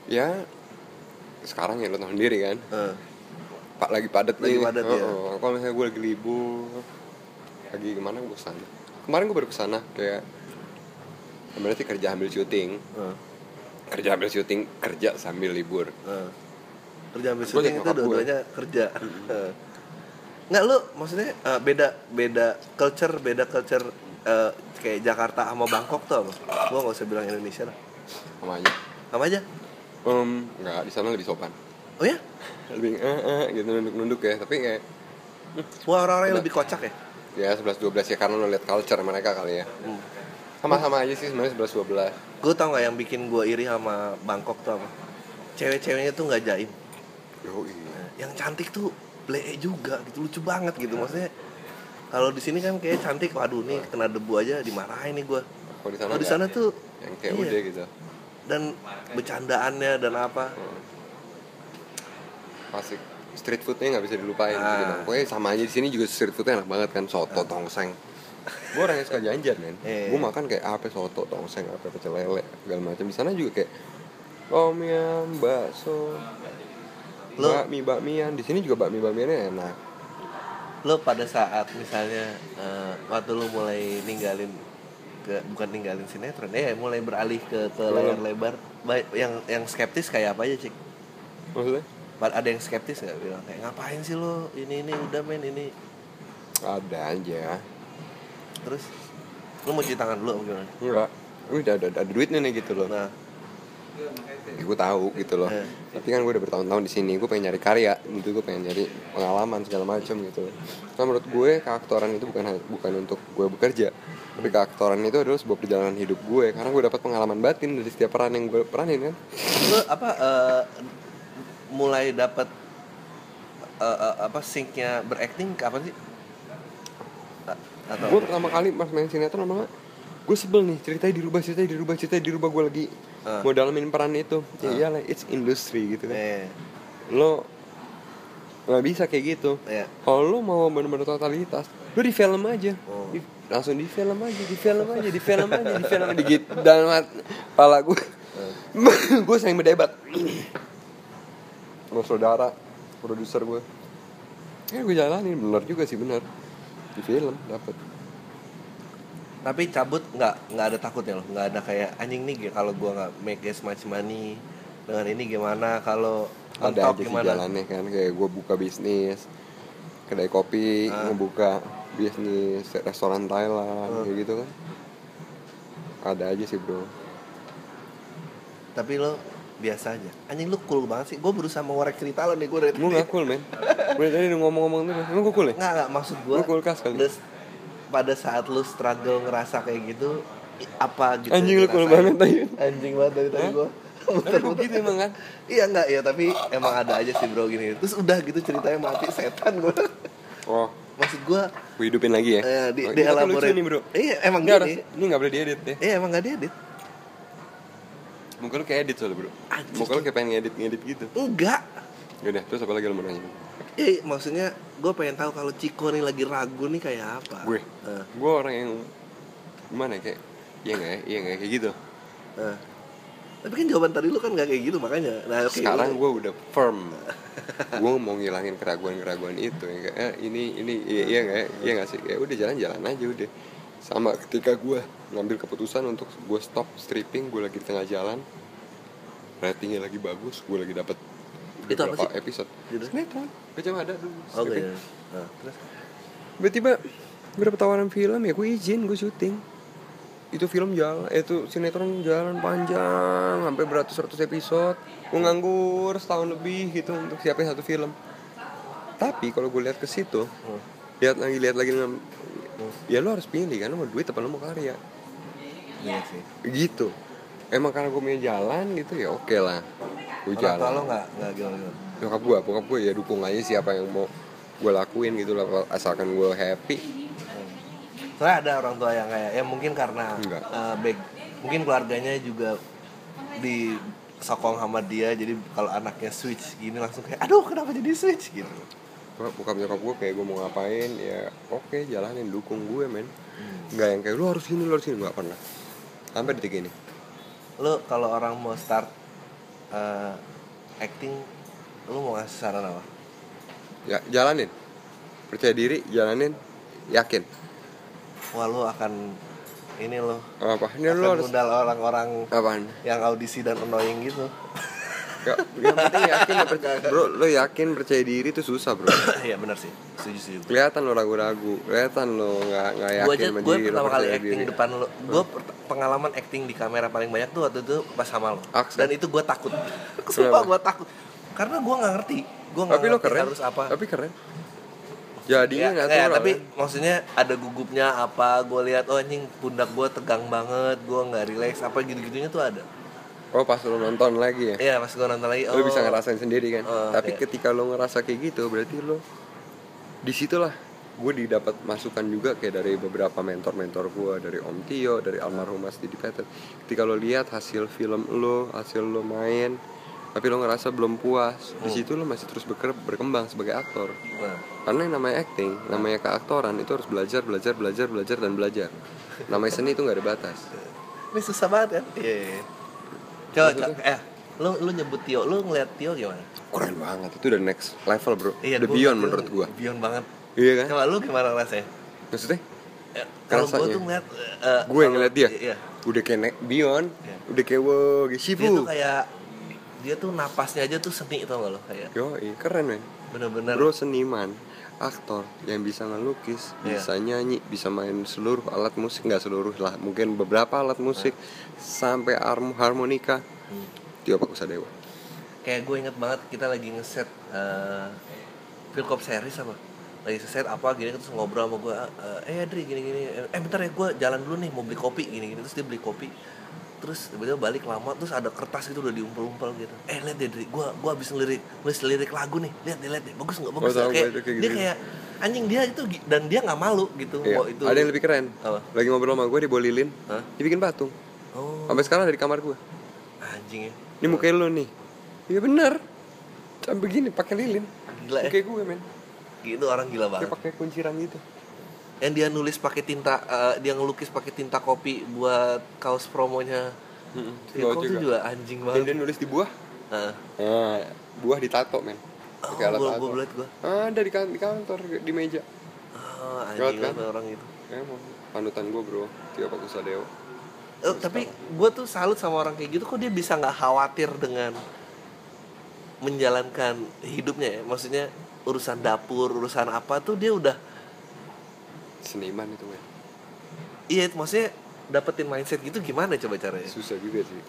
Speaker 2: Ya sekarang ya lo tau sendiri kan
Speaker 3: Eh,
Speaker 2: pak lagi padat
Speaker 3: Lagi
Speaker 2: nih
Speaker 3: padat,
Speaker 2: Heeh.
Speaker 3: ya.
Speaker 2: kalau misalnya gue lagi libur lagi kemana gue kesana kemarin gue baru kesana kayak berarti kerja ambil syuting
Speaker 3: eh,
Speaker 2: kerja ambil syuting kerja sambil libur
Speaker 3: eh. Kerja ambil
Speaker 2: Gua
Speaker 3: syuting
Speaker 2: liat
Speaker 3: itu
Speaker 2: nyokap gua.
Speaker 3: dua-duanya kerja. Eh. Nggak lu maksudnya eh, beda beda culture beda culture eh, kayak Jakarta sama Bangkok tuh apa? Gua nggak usah bilang Indonesia lah.
Speaker 2: sama aja
Speaker 3: Apa aja?
Speaker 2: um, nggak di sana lebih sopan
Speaker 3: Oh ya?
Speaker 2: lebih eh, eh, gitu nunduk nunduk ya tapi kayak
Speaker 3: Wah orang-orang yang
Speaker 2: Udah.
Speaker 3: lebih kocak ya?
Speaker 2: ya 11 12 ya karena lo liat culture mereka kali ya
Speaker 3: Hmm.
Speaker 2: sama-sama aja sih sebenarnya 11 12
Speaker 3: Gue tau gak yang bikin gue iri sama Bangkok tuh apa? Cewek-ceweknya tuh gak jaim
Speaker 2: Yo, iya.
Speaker 3: Yang cantik tuh lee juga gitu Lucu banget gitu Maksudnya kalau di sini kan kayak cantik Waduh nih kena debu aja dimarahin nih gue
Speaker 2: Kalau di sana
Speaker 3: Kalau di
Speaker 2: nggak.
Speaker 3: sana tuh
Speaker 2: yang kayak
Speaker 3: iya.
Speaker 2: udah gitu
Speaker 3: Dan bercandaannya dan apa
Speaker 2: Asik street foodnya nggak bisa dilupain
Speaker 3: Ah.
Speaker 2: gitu bang. Pokoknya sama aja di sini juga street foodnya enak banget kan soto tongseng. Gue orang yang suka janjian men.
Speaker 3: Eh.
Speaker 2: Gue makan kayak apa soto tongseng apa pecel lele segala macam. Di sana juga kayak tom yum, bakso,
Speaker 3: Lo-
Speaker 2: bakmi bakmian. Di sini juga bakmi bakmiannya enak.
Speaker 3: Lo pada saat misalnya eh, Waktu lo mulai ninggalin ke, bukan ninggalin sinetron ya mulai beralih ke, ke layar lebar Ba- yang yang skeptis kayak apa aja cik
Speaker 2: Maksudnya?
Speaker 3: Pa- ada yang skeptis nggak bilang kayak ngapain sih lo ini ini udah men ini
Speaker 2: Ada aja.
Speaker 3: terus lo mau cuci tangan dulu apa gimana
Speaker 2: Enggak. Wih, ada, ada, ada duitnya nih gitu loh.
Speaker 3: nah
Speaker 2: gue tahu gitu loh.
Speaker 3: Eh.
Speaker 2: Tapi kan gue udah bertahun-tahun di sini, gue pengen nyari karya, gitu gue pengen nyari pengalaman segala macam gitu. Nah menurut gue keaktoran itu bukan ha- bukan untuk gue bekerja, tapi keaktoran itu adalah sebuah perjalanan hidup gue karena gue dapat pengalaman batin dari setiap peran yang gue peranin kan.
Speaker 3: lo apa eh, mulai dapat eh, eh, apa sinknya berakting kapan sih A- atau
Speaker 2: Gue pertama kali pas main sinetron sama gue sebel nih ceritanya dirubah ceritanya dirubah ceritanya dirubah gue lagi
Speaker 3: Ah.
Speaker 2: mau dalamin peran itu ya iyalah it's industry gitu kan
Speaker 3: eh
Speaker 2: lo nggak bisa kayak gitu
Speaker 3: Iya.
Speaker 2: kalau lo mau bener-bener totalitas lo di film aja
Speaker 3: Oh.
Speaker 2: Di- langsung di film aja di film aja di film aja di film aja gitu dan mat- pala gue gue sering berdebat Eh. sama saudara produser gue ya gue jalanin bener juga sih bener di film dapet
Speaker 3: tapi cabut nggak nggak ada takutnya loh nggak ada kayak anjing nih kalau gua nggak make as much money dengan ini gimana kalau on
Speaker 2: ada
Speaker 3: top
Speaker 2: aja sih jalannya kan kayak gue buka bisnis kedai kopi
Speaker 3: Ah.
Speaker 2: ngebuka bisnis restoran Thailand kayak gitu kan ada aja sih bro
Speaker 3: tapi lo biasa aja anjing lu cool banget sih gue berusaha mengorek cerita lo nih gue dari
Speaker 2: gue gak cool men gue tadi udah ngomong-ngomong terus emang gue cool ya
Speaker 3: nggak nggak maksud gue
Speaker 2: Lu kulkas kali.
Speaker 3: pada saat lu struggle ngerasa kayak gitu i- apa gitu
Speaker 2: Anjing,
Speaker 3: yang
Speaker 2: lu cool
Speaker 3: dirasain?
Speaker 2: banget, Ayun.
Speaker 3: anjing banget dari tadi gue
Speaker 2: tapi gue gitu emang kan
Speaker 3: iya nggak ya tapi emang ada aja sih bro gini terus udah gitu ceritanya mati setan gue
Speaker 2: oh
Speaker 3: maksud gue
Speaker 2: gue hidupin lagi ya
Speaker 3: eh, di,
Speaker 2: Oh,
Speaker 3: di
Speaker 2: ini tapi lucu
Speaker 3: elaborate
Speaker 2: nih bro
Speaker 3: iya emang
Speaker 2: ini,
Speaker 3: gini
Speaker 2: harus, ini gak boleh diedit ya
Speaker 3: iya emang gak diedit
Speaker 2: muka lu kayak edit soalnya bro
Speaker 3: Anjing.
Speaker 2: muka lu kayak pengen ngedit ngedit gitu
Speaker 3: enggak
Speaker 2: yaudah terus apa lagi lu mau nanya
Speaker 3: Iya, maksudnya gue pengen tahu kalau Ciko nih lagi ragu nih kayak apa.
Speaker 2: gue
Speaker 3: Eh,
Speaker 2: gue orang yang gimana ya kayak iya gak ya iya gak ya kayak gitu
Speaker 3: eh. Tapi kan jawaban tadi lu kan nggak kayak gitu makanya. Nah, oke,
Speaker 2: sekarang
Speaker 3: lu-
Speaker 2: gue udah firm gue Iya. mau ngilangin keraguan-keraguan itu ya kayak, eh, ini ini iya iya nggak ya? iya nggak sih ya udah jalan-jalan aja udah sama ketika gue ngambil keputusan untuk gue stop stripping gue lagi di tengah jalan ratingnya lagi bagus gue lagi dapet
Speaker 3: Itu apa
Speaker 2: beberapa
Speaker 3: sih?
Speaker 2: episode
Speaker 3: Judulnya?
Speaker 2: sinetron gue cuma ada dulu
Speaker 3: Gitu. oke.
Speaker 2: stripping.
Speaker 3: Nah, terus
Speaker 2: tiba-tiba gue dapet tawaran film ya gue izin gue syuting itu film jalan eh, itu sinetron jalan panjang sampai beratus-ratus episode gue nganggur setahun lebih gitu untuk siapin satu film tapi kalau gue lihat ke situ lihat lagi lihat lagi dengan- ya lo harus pilih kan lo mau duit apa lo mau karya
Speaker 3: iya sih.
Speaker 2: gitu emang karena gue punya jalan gitu ya oke lah gue
Speaker 3: Orang tua
Speaker 2: jalan
Speaker 3: lo nggak nggak gimana
Speaker 2: nyokap gue bokap gue ya dukung aja siapa yang mau gue lakuin gitu lah asalkan gue happy
Speaker 3: Soalnya ada orang tua yang kayak ya mungkin karena
Speaker 2: Enggak.
Speaker 3: eh, back mungkin keluarganya juga di sokong sama dia jadi kalau anaknya switch gini langsung kayak aduh kenapa jadi switch gitu.
Speaker 2: Gua- bokap nyokap gue kayak gue mau ngapain ya oke jalanin dukung gue men nggak yang kayak lu harus gini lu harus gini nggak pernah sampai detik ini
Speaker 3: Lo kalau orang mau start eh, acting lo mau ngasih saran apa?
Speaker 2: ya jalanin percaya diri jalanin yakin
Speaker 3: Wah lo akan ini lo
Speaker 2: apa ini Ya, lu
Speaker 3: akan
Speaker 2: harus
Speaker 3: modal orang-orang
Speaker 2: apaan
Speaker 3: yang audisi dan annoying gitu.
Speaker 2: Gak, yang penting yakin lo percaya bro lo yakin percaya diri itu susah bro
Speaker 3: Iya benar sih, setuju setuju.
Speaker 2: kelihatan lo ragu-ragu kelihatan lo nggak nggak yakin
Speaker 3: gue aja
Speaker 2: sama
Speaker 3: gue
Speaker 2: diri, lo
Speaker 3: pertama kali
Speaker 2: percaya
Speaker 3: acting
Speaker 2: diri. Hmm.
Speaker 3: depan lo gue pengalaman acting di kamera paling banyak tuh waktu itu pas sama lo
Speaker 2: Aksen.
Speaker 3: dan itu gue takut sumpah
Speaker 2: Kenapa?
Speaker 3: gue takut karena gue nggak ngerti gue nggak
Speaker 2: tapi lo
Speaker 3: ngerti
Speaker 2: keren
Speaker 3: harus apa
Speaker 2: tapi keren
Speaker 3: Ya,
Speaker 2: jadinya natural
Speaker 3: kayak, tapi
Speaker 2: kan?
Speaker 3: maksudnya ada gugupnya apa gue lihat oh anjing pundak gue tegang banget gue nggak relax apa gitu gitunya tuh ada
Speaker 2: oh pas lo nonton lagi ya
Speaker 3: iya pas gue nonton lagi oh
Speaker 2: lo bisa ngerasain sendiri kan
Speaker 3: Oh,
Speaker 2: tapi
Speaker 3: iya.
Speaker 2: ketika lo ngerasa kayak gitu berarti lo disitulah gue didapat masukan juga kayak dari beberapa mentor-mentor gue dari Om Tio dari almarhum Mas Didi Petet ketika lo lihat hasil film lo hasil lo main tapi lo ngerasa belum puas di
Speaker 3: Hmm.
Speaker 2: situ lo masih terus beker- berkembang sebagai aktor
Speaker 3: Nah,
Speaker 2: karena yang namanya acting
Speaker 3: Hmm.
Speaker 2: namanya keaktoran itu harus belajar belajar belajar belajar dan belajar namanya seni itu nggak ada batas
Speaker 3: ini susah banget kan iya iya, iya. coba coba eh lo lo nyebut Tio lo ngeliat Tio gimana Iya,
Speaker 2: keren banget itu udah next level bro the
Speaker 3: gua
Speaker 2: beyond
Speaker 3: ngeliat Tio
Speaker 2: menurut gue
Speaker 3: beyond banget
Speaker 2: iya kan
Speaker 3: coba lo gimana rasanya
Speaker 2: maksudnya
Speaker 3: Eh, kalau gue
Speaker 2: Rasanya.
Speaker 3: tuh ngeliat eh,
Speaker 2: gue yang
Speaker 3: kalau-
Speaker 2: ngeliat dia
Speaker 3: iya
Speaker 2: udah kayak ne- Beyond
Speaker 3: Iya.
Speaker 2: udah kayak wow kayak
Speaker 3: dia
Speaker 2: Shifu
Speaker 3: tuh kayak dia tuh napasnya aja tuh seni tau gak lo kayak
Speaker 2: Yoi, keren men
Speaker 3: bener-bener
Speaker 2: bro seniman aktor yang bisa ngelukis
Speaker 3: Iya.
Speaker 2: bisa nyanyi bisa main seluruh alat musik nggak seluruh lah mungkin beberapa alat musik sampai arm harmonika
Speaker 3: Hmm.
Speaker 2: Tio Pakusadewa
Speaker 3: kayak gue inget banget kita lagi ngeset eh film cop series apa lagi set apa gini terus ngobrol sama gue eh Adri gini gini eh bentar ya gue jalan dulu nih mau beli kopi gini gini terus dia beli kopi terus tiba-tiba balik lama terus ada kertas gitu udah diumpel-umpel gitu eh lihat deh Dri gue gue abis ngelirik nulis lirik lagu nih lihat deh lihat deh bagus nggak bagus nggak?"
Speaker 2: tau gue
Speaker 3: kayak,
Speaker 2: itu kayak
Speaker 3: dia
Speaker 2: gitu.
Speaker 3: kayak anjing dia itu gi- dan dia nggak malu gitu
Speaker 2: Iya.
Speaker 3: mau itu
Speaker 2: ada yang lebih keren
Speaker 3: Apa?
Speaker 2: lagi ngobrol sama gue dibolilin
Speaker 3: Hah?
Speaker 2: dibikin patung
Speaker 3: oh
Speaker 2: sampai sekarang dari kamar gue
Speaker 3: anjing ya
Speaker 2: ini mukanya lo nih iya bener Cam begini pakai lilin
Speaker 3: Gila ya.
Speaker 2: Mukanya gue men
Speaker 3: gitu orang gila
Speaker 2: dia
Speaker 3: banget
Speaker 2: pakai kunciran gitu
Speaker 3: yang dia nulis pakai tinta eh, dia ngelukis pakai tinta kopi buat kaos promonya Hmm,
Speaker 2: Gua
Speaker 3: Filkop tuh juga anjing
Speaker 2: Dan
Speaker 3: banget
Speaker 2: dia nulis di buah.
Speaker 3: Heeh. Ya.
Speaker 2: Nah, buah ditato men.
Speaker 3: Ah,
Speaker 2: Pakai alat
Speaker 3: gue
Speaker 2: tato.
Speaker 3: gue belet gue
Speaker 2: Ada di, kan- di kantor di meja.
Speaker 3: oh, anjing
Speaker 2: Gawat kan?
Speaker 3: banget orang itu
Speaker 2: Emang panutan gue bro, Tio Pakusadewo.
Speaker 3: Eh, tapi gue tuh salut sama orang kayak gitu kok dia bisa nggak khawatir dengan menjalankan hidupnya ya maksudnya urusan dapur urusan apa tuh dia udah
Speaker 2: Seniman itu men.
Speaker 3: iya maksudnya dapetin mindset gitu gimana coba caranya
Speaker 2: Susah juga sih.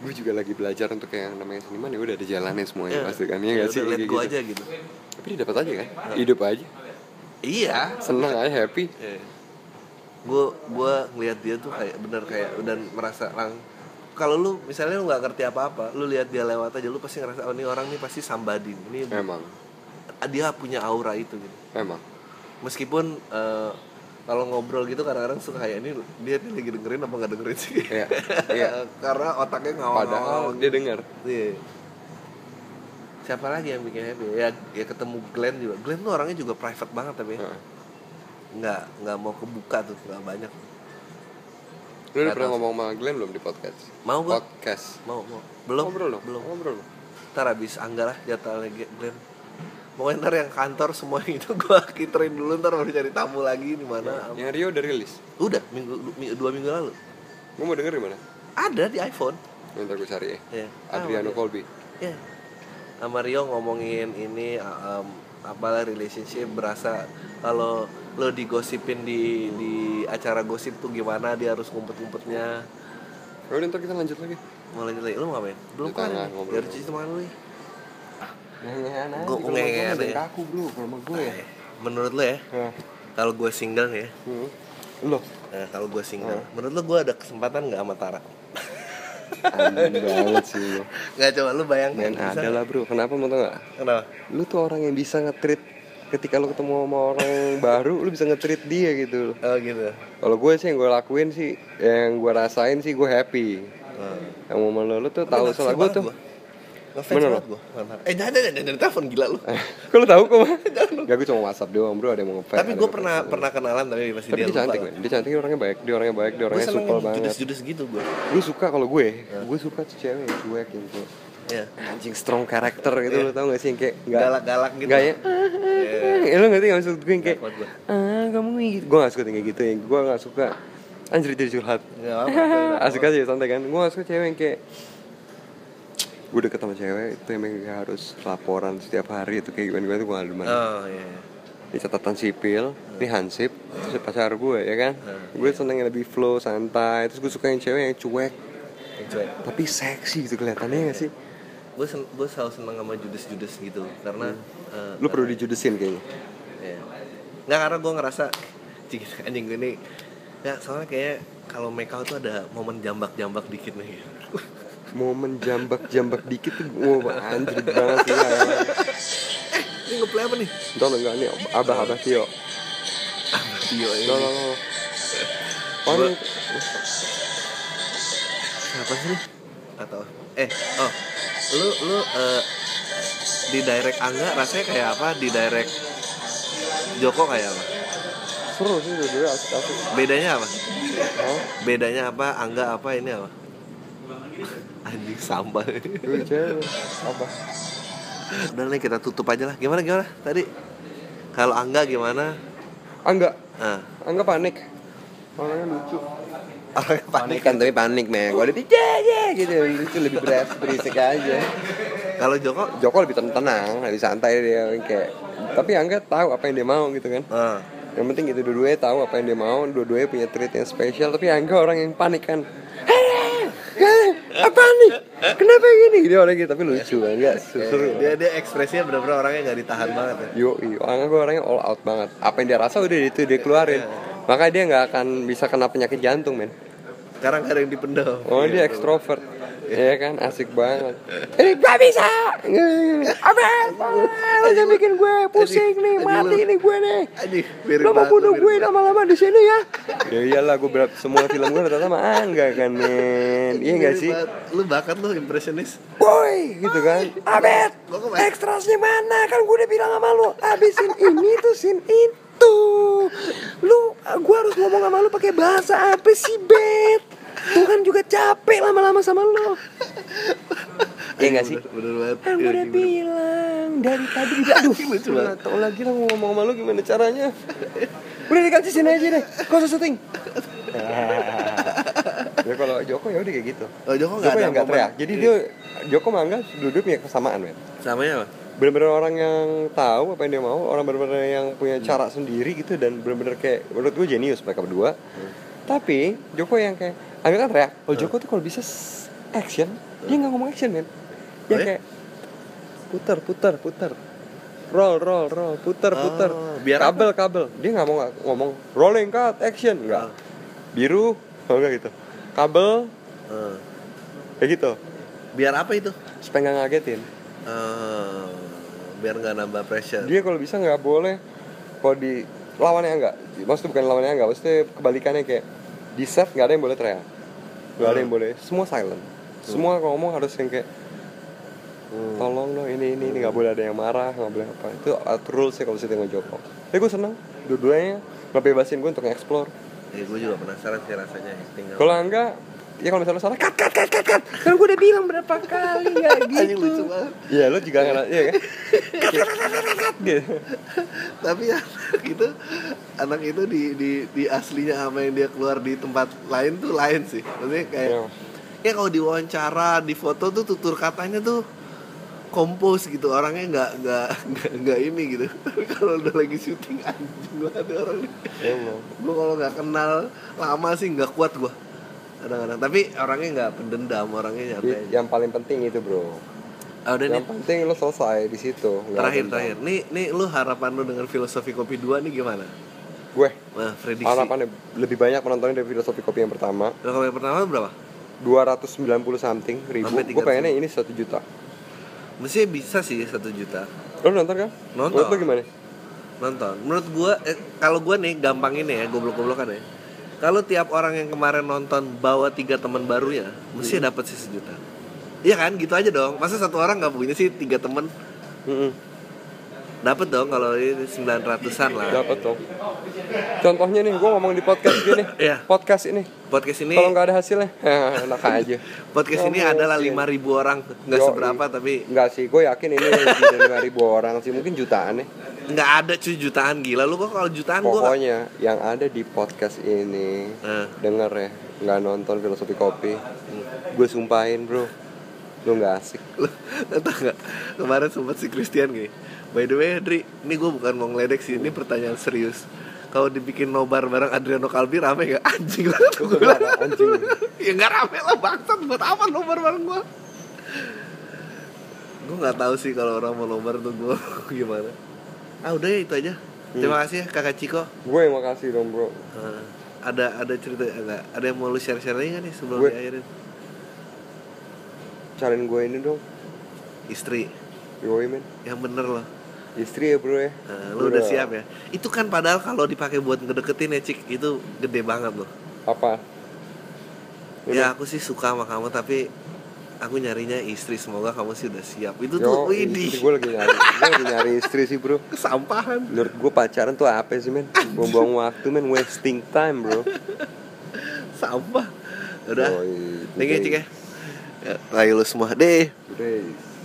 Speaker 2: Gue juga lagi belajar untuk yang namanya seniman ya udah ada jalannya semuanya pasti kan ya nggak sih
Speaker 3: udah,
Speaker 2: Kayak
Speaker 3: liat gue aja Ya. gitu
Speaker 2: Tapi dia dapat aja kan, hidup aja,
Speaker 3: iya
Speaker 2: senang aja happy.
Speaker 3: gue gue Iya. ngelihat dia tuh kayak bener kayak dan merasa lang kalau lu misalnya lu nggak ngerti apa-apa lu lihat dia lewat aja lu pasti ngerasa oh ini orang nih pasti sambadin ini
Speaker 2: Emang, Iya.
Speaker 3: dia punya aura itu gitu
Speaker 2: emang.
Speaker 3: meskipun eh, kalau ngobrol gitu kadang-kadang suka kayak ini dia nih lagi dengerin apa nggak dengerin sih
Speaker 2: Iya, iya.
Speaker 3: karena otaknya ngawang-ngawang
Speaker 2: Padahal dia dengar.
Speaker 3: Iya. siapa lagi yang bikin happy ya ya ketemu Glenn juga Glenn tuh orangnya juga private
Speaker 2: Iya.
Speaker 3: banget tapi ya.
Speaker 2: Heeh.
Speaker 3: nggak nggak mau kebuka tuh nggak banyak
Speaker 2: Lu udah pernah ngomong sama Glenn belum di podcast?
Speaker 3: Mau gua.
Speaker 2: Podcast.
Speaker 3: mau mau belum
Speaker 2: Ngobrol lo?
Speaker 3: belum
Speaker 2: Ngobrol lo?
Speaker 3: ntar abis angga lah jatah lagi Glenn pokoknya ntar yang kantor semua itu gua kiterin dulu ntar baru cari tamu lagi di mana
Speaker 2: Yang Rio udah rilis.
Speaker 3: udah minggu mi- dua minggu lalu
Speaker 2: Gua mau denger di mana?
Speaker 3: ada di iPhone
Speaker 2: Ntar gua cari ya.
Speaker 3: ya
Speaker 2: Adriano Colby.
Speaker 3: ya sama Rio ngomongin ini uh, um, apalah relationship berasa kalau lo digosipin di di acara gosip tuh gimana dia harus ngumpet-ngumpetnya
Speaker 2: Ya udah ntar kita lanjut lagi.
Speaker 3: mulai dari lo mau ngapain belum
Speaker 2: Di
Speaker 3: kan
Speaker 2: tengah ngobrol.
Speaker 3: ya harus cuci tangan dulu ya.
Speaker 2: Ngehan
Speaker 3: Gua- gua
Speaker 2: ya,
Speaker 3: ngehan aja.
Speaker 2: kan kaku bro, kalau sama gue ya.
Speaker 3: Eh, menurut lo ya
Speaker 2: Hah.
Speaker 3: kalau gue single nih ya
Speaker 2: Hmm. Lo,
Speaker 3: Nah, kalau gue single,
Speaker 2: Hmm.
Speaker 3: menurut lo gue ada kesempatan nggak sama Tara?
Speaker 2: aneh banget sih lo.
Speaker 3: Nggak coba lu bayangin.
Speaker 2: Dan ada lah bro, kenapa mau tau gak?
Speaker 3: Kenapa?
Speaker 2: Lu tuh orang yang bisa nge-treat ketika lu ketemu sama orang baru, lu bisa nge-treat dia gitu.
Speaker 3: Oh gitu.
Speaker 2: Kalau gue sih yang gue lakuin sih, yang gue rasain sih gue happy.
Speaker 3: Hmm.
Speaker 2: Yang momen lo, lu tuh tahu salah gue tuh.
Speaker 3: Ngefans
Speaker 2: Bener
Speaker 3: banget gue. Eh jangan jangan jangan, jangan telepon gila lu.
Speaker 2: Kok lu tahu kok? mah? Gak gue cuma WhatsApp doang bro, ada yang mau nge-fan,
Speaker 3: Tapi
Speaker 2: ada
Speaker 3: gue
Speaker 2: yang
Speaker 3: pernah pernah kenalan tapi masih
Speaker 2: tapi
Speaker 3: dia
Speaker 2: dia
Speaker 3: lupa.
Speaker 2: cantik, men. dia cantik, dia orangnya baik, dia orangnya baik, dia
Speaker 3: Gue
Speaker 2: orangnya
Speaker 3: seneng
Speaker 2: supel
Speaker 3: yang
Speaker 2: banget.
Speaker 3: judes-judes gitu gue.
Speaker 2: Lu suka kalau gue, gue suka tuh cewek yang cuek gitu.
Speaker 3: Iya.
Speaker 2: Anjing strong karakter gitu lo tau gak sih yang kayak nggak-
Speaker 3: Galak-galak gitu.
Speaker 2: Gak ya? Eh, lo ngerti gak maksud gue yang kayak
Speaker 3: Gak kuat gue.
Speaker 2: ah kamu gitu Gue gak suka yang kayak gitu yang Gue gak suka Anjir jadi curhat
Speaker 3: Nggak apa-apa.
Speaker 2: Asik aja santai kan Gue gak suka cewek yang kayak Gue deket sama cewek Itu emang gak harus laporan setiap hari Itu kayak gimana-gimana tuh gue gak demen
Speaker 3: Oh iya. iya.
Speaker 2: Ini catatan sipil Ini hansip Terus pacar gue ya kan Gue seneng yang lebih flow santai Terus gue suka yang cewek yang cuek
Speaker 3: Yang cuek.
Speaker 2: Tapi seksi gitu kelihatannya gak sih
Speaker 3: Gue sen gue selalu seneng sama judes-judes gitu karena. eh,
Speaker 2: Hmm. Lu perlu dijudesin kayaknya
Speaker 3: Iya. Nggak karena gue ngerasa "Cing, anjing gue nih Nggak soalnya kayak kalau make out tuh ada momen jambak-jambak dikit nih
Speaker 2: momen jambak-jambak dikit tuh wow, anjir banget sih ya.
Speaker 3: Ini ngeplay apa nih?
Speaker 2: Entar enggak nih abah abah Tio.
Speaker 3: Iya
Speaker 2: Lo lo lo. Oh ini
Speaker 3: Apa sih lu? Atau Eh oh Lu lu eh, di direct Angga rasanya kayak apa? Di direct Joko kayak apa?
Speaker 2: seru sih dulu asik asik.
Speaker 3: Bedanya apa?
Speaker 2: Oh,
Speaker 3: Bedanya apa? Angga apa ini apa? Anjing sampah
Speaker 2: gue cewek abah.
Speaker 3: Udah nih kita tutup aja lah Gimana gimana tadi? Kalau Angga gimana?
Speaker 2: Angga,
Speaker 3: Ah.
Speaker 2: Angga panik. Orangnya lucu.
Speaker 3: Orangnya panik.
Speaker 2: Panik kan tapi panik meh. Gue lebih jaja gitu lucu lebih beres berisik aja.
Speaker 3: Kalau Joko,
Speaker 2: Joko lebih ten- tenang, nah, lebih santai dia kayak. Tapi Angga tahu apa yang dia mau gitu kan.
Speaker 3: ah,
Speaker 2: Yang penting gitu dua-duanya tahu apa yang dia mau, dua-duanya punya treat yang spesial, tapi Angga orang yang panik kan. apa nih? Kenapa yang ini? Dia orang gitu, tapi lucu kan, enggak seru.
Speaker 3: dia dia ekspresinya bener-bener orangnya nggak ditahan banget ya.
Speaker 2: Yo, orang gue orangnya all out banget. Apa yang dia rasa udah itu dia keluarin. Makanya dia nggak akan bisa kena penyakit jantung, men.
Speaker 3: Sekarang kadang dipendam.
Speaker 2: Oh, dia ekstrovert. Iya kan, asik banget. Ini gak bisa. Apa? Lo jangan bikin gue pusing nih, mati nih gue nih.
Speaker 3: Aduh, mirip
Speaker 2: Lo mau
Speaker 3: banget,
Speaker 2: bunuh
Speaker 3: mirip
Speaker 2: gue lama-lama di sini ya? ya iyalah, gue berat semua film gue rata-rata sama Angga kan, men. Iya gak
Speaker 3: Mirip
Speaker 2: sih?
Speaker 3: banget. Lu bakat lu impressionis.
Speaker 2: Boy, gitu kan? Abet, ekstrasnya mana? Kan gue udah bilang sama lo, abisin ini tuh sin itu. Lu, gue harus ngomong sama lu pakai bahasa apa sih, Bet? Tuhan juga capek lama-lama sama lo. Iya gak sih?
Speaker 3: Bener, bener banget. Iya,
Speaker 2: Kan gue udah
Speaker 3: anjing, bener.
Speaker 2: bilang dari tadi juga aduh
Speaker 3: Lucu
Speaker 2: gue
Speaker 3: banget.
Speaker 2: nggak tahu lagi lah mau ngomong sama lu gimana caranya. Udah dikasih sini aja deh. Kau usah syuting. ya kalau Joko ya udah kayak gitu.
Speaker 3: Oh, Joko nggak
Speaker 2: Joko
Speaker 3: ada
Speaker 2: yang nggak
Speaker 3: momen.
Speaker 2: teriak. Jadi dia Joko Mangga duduk punya kesamaan, men.
Speaker 3: Samanya apa?
Speaker 2: Bener-bener orang yang tahu apa yang dia mau, orang bener-bener yang
Speaker 3: Hmm.
Speaker 2: punya cara sendiri gitu dan bener-bener kayak menurut gue jenius mereka berdua.
Speaker 3: Hmm.
Speaker 2: Tapi Joko yang kayak agak kan teriak. Kalau Joko tuh kalau bisa s- action,
Speaker 3: Hmm.
Speaker 2: dia nggak ngomong action men. Dia
Speaker 3: Oh, ya?
Speaker 2: kayak putar putar putar roll roll roll putar
Speaker 3: Oh,
Speaker 2: putar
Speaker 3: biar apa?
Speaker 2: kabel kabel dia nggak mau ng- ngomong rolling cut action
Speaker 3: Hmm.
Speaker 2: nggak biru oh, nggak gitu kabel
Speaker 3: Eh,
Speaker 2: kayak gitu
Speaker 3: biar apa itu?
Speaker 2: supaya nggak ngagetin
Speaker 3: Eh, biar nggak nambah pressure.
Speaker 2: dia kalau bisa nggak boleh kalau di lawannya enggak maksudnya bukan lawannya enggak maksudnya kebalikannya kayak di set nggak ada yang boleh teriak nggak ada yang boleh semua silent
Speaker 3: Hmm.
Speaker 2: semua kalau ngomong harus yang kayak tolong dong ini ini ini nggak boleh ada yang marah nggak boleh apa itu art rules sih kalau sih dengan Joko tapi gue seneng dua-duanya ngebebasin gue untuk nge-explore
Speaker 3: ya gue juga penasaran sih rasanya acting
Speaker 2: Kalau enggak, ya kalau misalnya salah, cut, cut, cut, cut, cut. Kan gue udah bilang berapa kali ya
Speaker 3: Anjing lucu
Speaker 2: gitu.
Speaker 3: banget.
Speaker 2: Iya, lo juga nggak, iya kan? Kayak, gitu.
Speaker 3: tapi ya gitu anak itu di, di di aslinya sama yang dia keluar di tempat lain tuh lain sih maksudnya kayak
Speaker 2: Iya.
Speaker 3: ya kalau diwawancara di foto tuh tutur katanya tuh kompos gitu orangnya nggak nggak nggak nggak ini gitu tapi kalau udah lagi syuting anjing gua ada orang nih
Speaker 2: Emang.
Speaker 3: gue kalau nggak kenal lama sih nggak kuat gua kadang-kadang tapi orangnya nggak pendendam orangnya
Speaker 2: Jadi,
Speaker 3: nyantai
Speaker 2: Yang paling penting itu bro.
Speaker 3: ah, udah nih
Speaker 2: Yang penting lo selesai di situ. nggak
Speaker 3: terakhir
Speaker 2: ada-
Speaker 3: terakhir nih nih lu harapan lu dengan filosofi kopi dua nih gimana
Speaker 2: Gue
Speaker 3: nah prediksi
Speaker 2: harapannya lebih banyak menontonnya dari filosofi kopi yang pertama.
Speaker 3: Lo kalau yang pertama berapa?
Speaker 2: 290 something ribu.
Speaker 3: Sampai
Speaker 2: Gue pengennya ini 1 juta.
Speaker 3: Mestinya bisa sih satu juta
Speaker 2: Lo nonton kan?
Speaker 3: Nonton.
Speaker 2: Menurut lo gimana?
Speaker 3: nonton. Menurut gua, eh, kalau gua nih gampang ini ya, goblok-goblokan ya. Kalau tiap orang yang kemarin nonton bawa tiga teman barunya, mestinya dapat sih sejuta. Iya kan, gitu aja dong. Masa satu orang nggak punya sih tiga temen
Speaker 2: Mm-mm.
Speaker 3: Dapat dong kalau ini 900-an lah.
Speaker 2: Dapat dong. Contohnya nih, gue ngomong di podcast gini.
Speaker 3: Iya.
Speaker 2: Podcast ini.
Speaker 3: Podcast ini
Speaker 2: Kalau nggak ada hasilnya, eh, enak aja.
Speaker 3: podcast ini adalah 5000 orang, nggak
Speaker 2: Yoi.
Speaker 3: seberapa tapi
Speaker 2: Nggak sih, gue yakin ini lebih dari 5000 orang sih, mungkin jutaan ya. nih.
Speaker 3: nggak ada cuy jutaan gila lu kok kalau jutaan gua nggak-
Speaker 2: Pokoknya yang ada di podcast ini,
Speaker 3: Eh.
Speaker 2: denger ya, nggak nonton filosofi kopi, gue sumpahin bro, lu nggak asik.
Speaker 3: Lu tau gak kemarin sempat si Christian gini by the way Dri ini gue bukan mau ngeledek sih ini pertanyaan serius kalau dibikin nobar bareng Adriano Kalbi rame gak anjing lah tuh gue bilang.
Speaker 2: Anjing.
Speaker 3: ya nggak rame lah bangsat buat apa nobar bareng gue gue nggak tahu sih kalau orang mau nobar tuh gue gimana ah udah ya itu aja terima kasih ya kakak Ciko
Speaker 2: Gue yang makasih dong bro.
Speaker 3: Eh, ada ada cerita enggak ada yang mau lu share share lagi nggak nih sebelum
Speaker 2: Gue-
Speaker 3: diakhirin
Speaker 2: Cariin gue ini dong,
Speaker 3: istri
Speaker 2: yoi men.
Speaker 3: yang bener loh
Speaker 2: Istri ya bro ya.
Speaker 3: Nah, lu udah siap ya? Itu kan padahal kalau dipakai buat ngedeketin ya Cik, itu gede banget loh.
Speaker 2: Apa?
Speaker 3: Ya aku sih suka sama kamu tapi aku nyarinya istri. Semoga kamu sih udah siap. Itu
Speaker 2: Yo,
Speaker 3: tuh
Speaker 2: istri
Speaker 3: widih.
Speaker 2: gue lagi nyari, gue lagi nyari istri sih bro.
Speaker 3: Kesampahan.
Speaker 2: Menurut gue pacaran tuh apa sih men? Buang-buang waktu men, wasting time bro.
Speaker 3: Sampah. Udah.
Speaker 2: Yoi,
Speaker 3: Thank you Cik ya.
Speaker 2: today.
Speaker 3: Ya, Tayo lu semua deh.
Speaker 2: Today.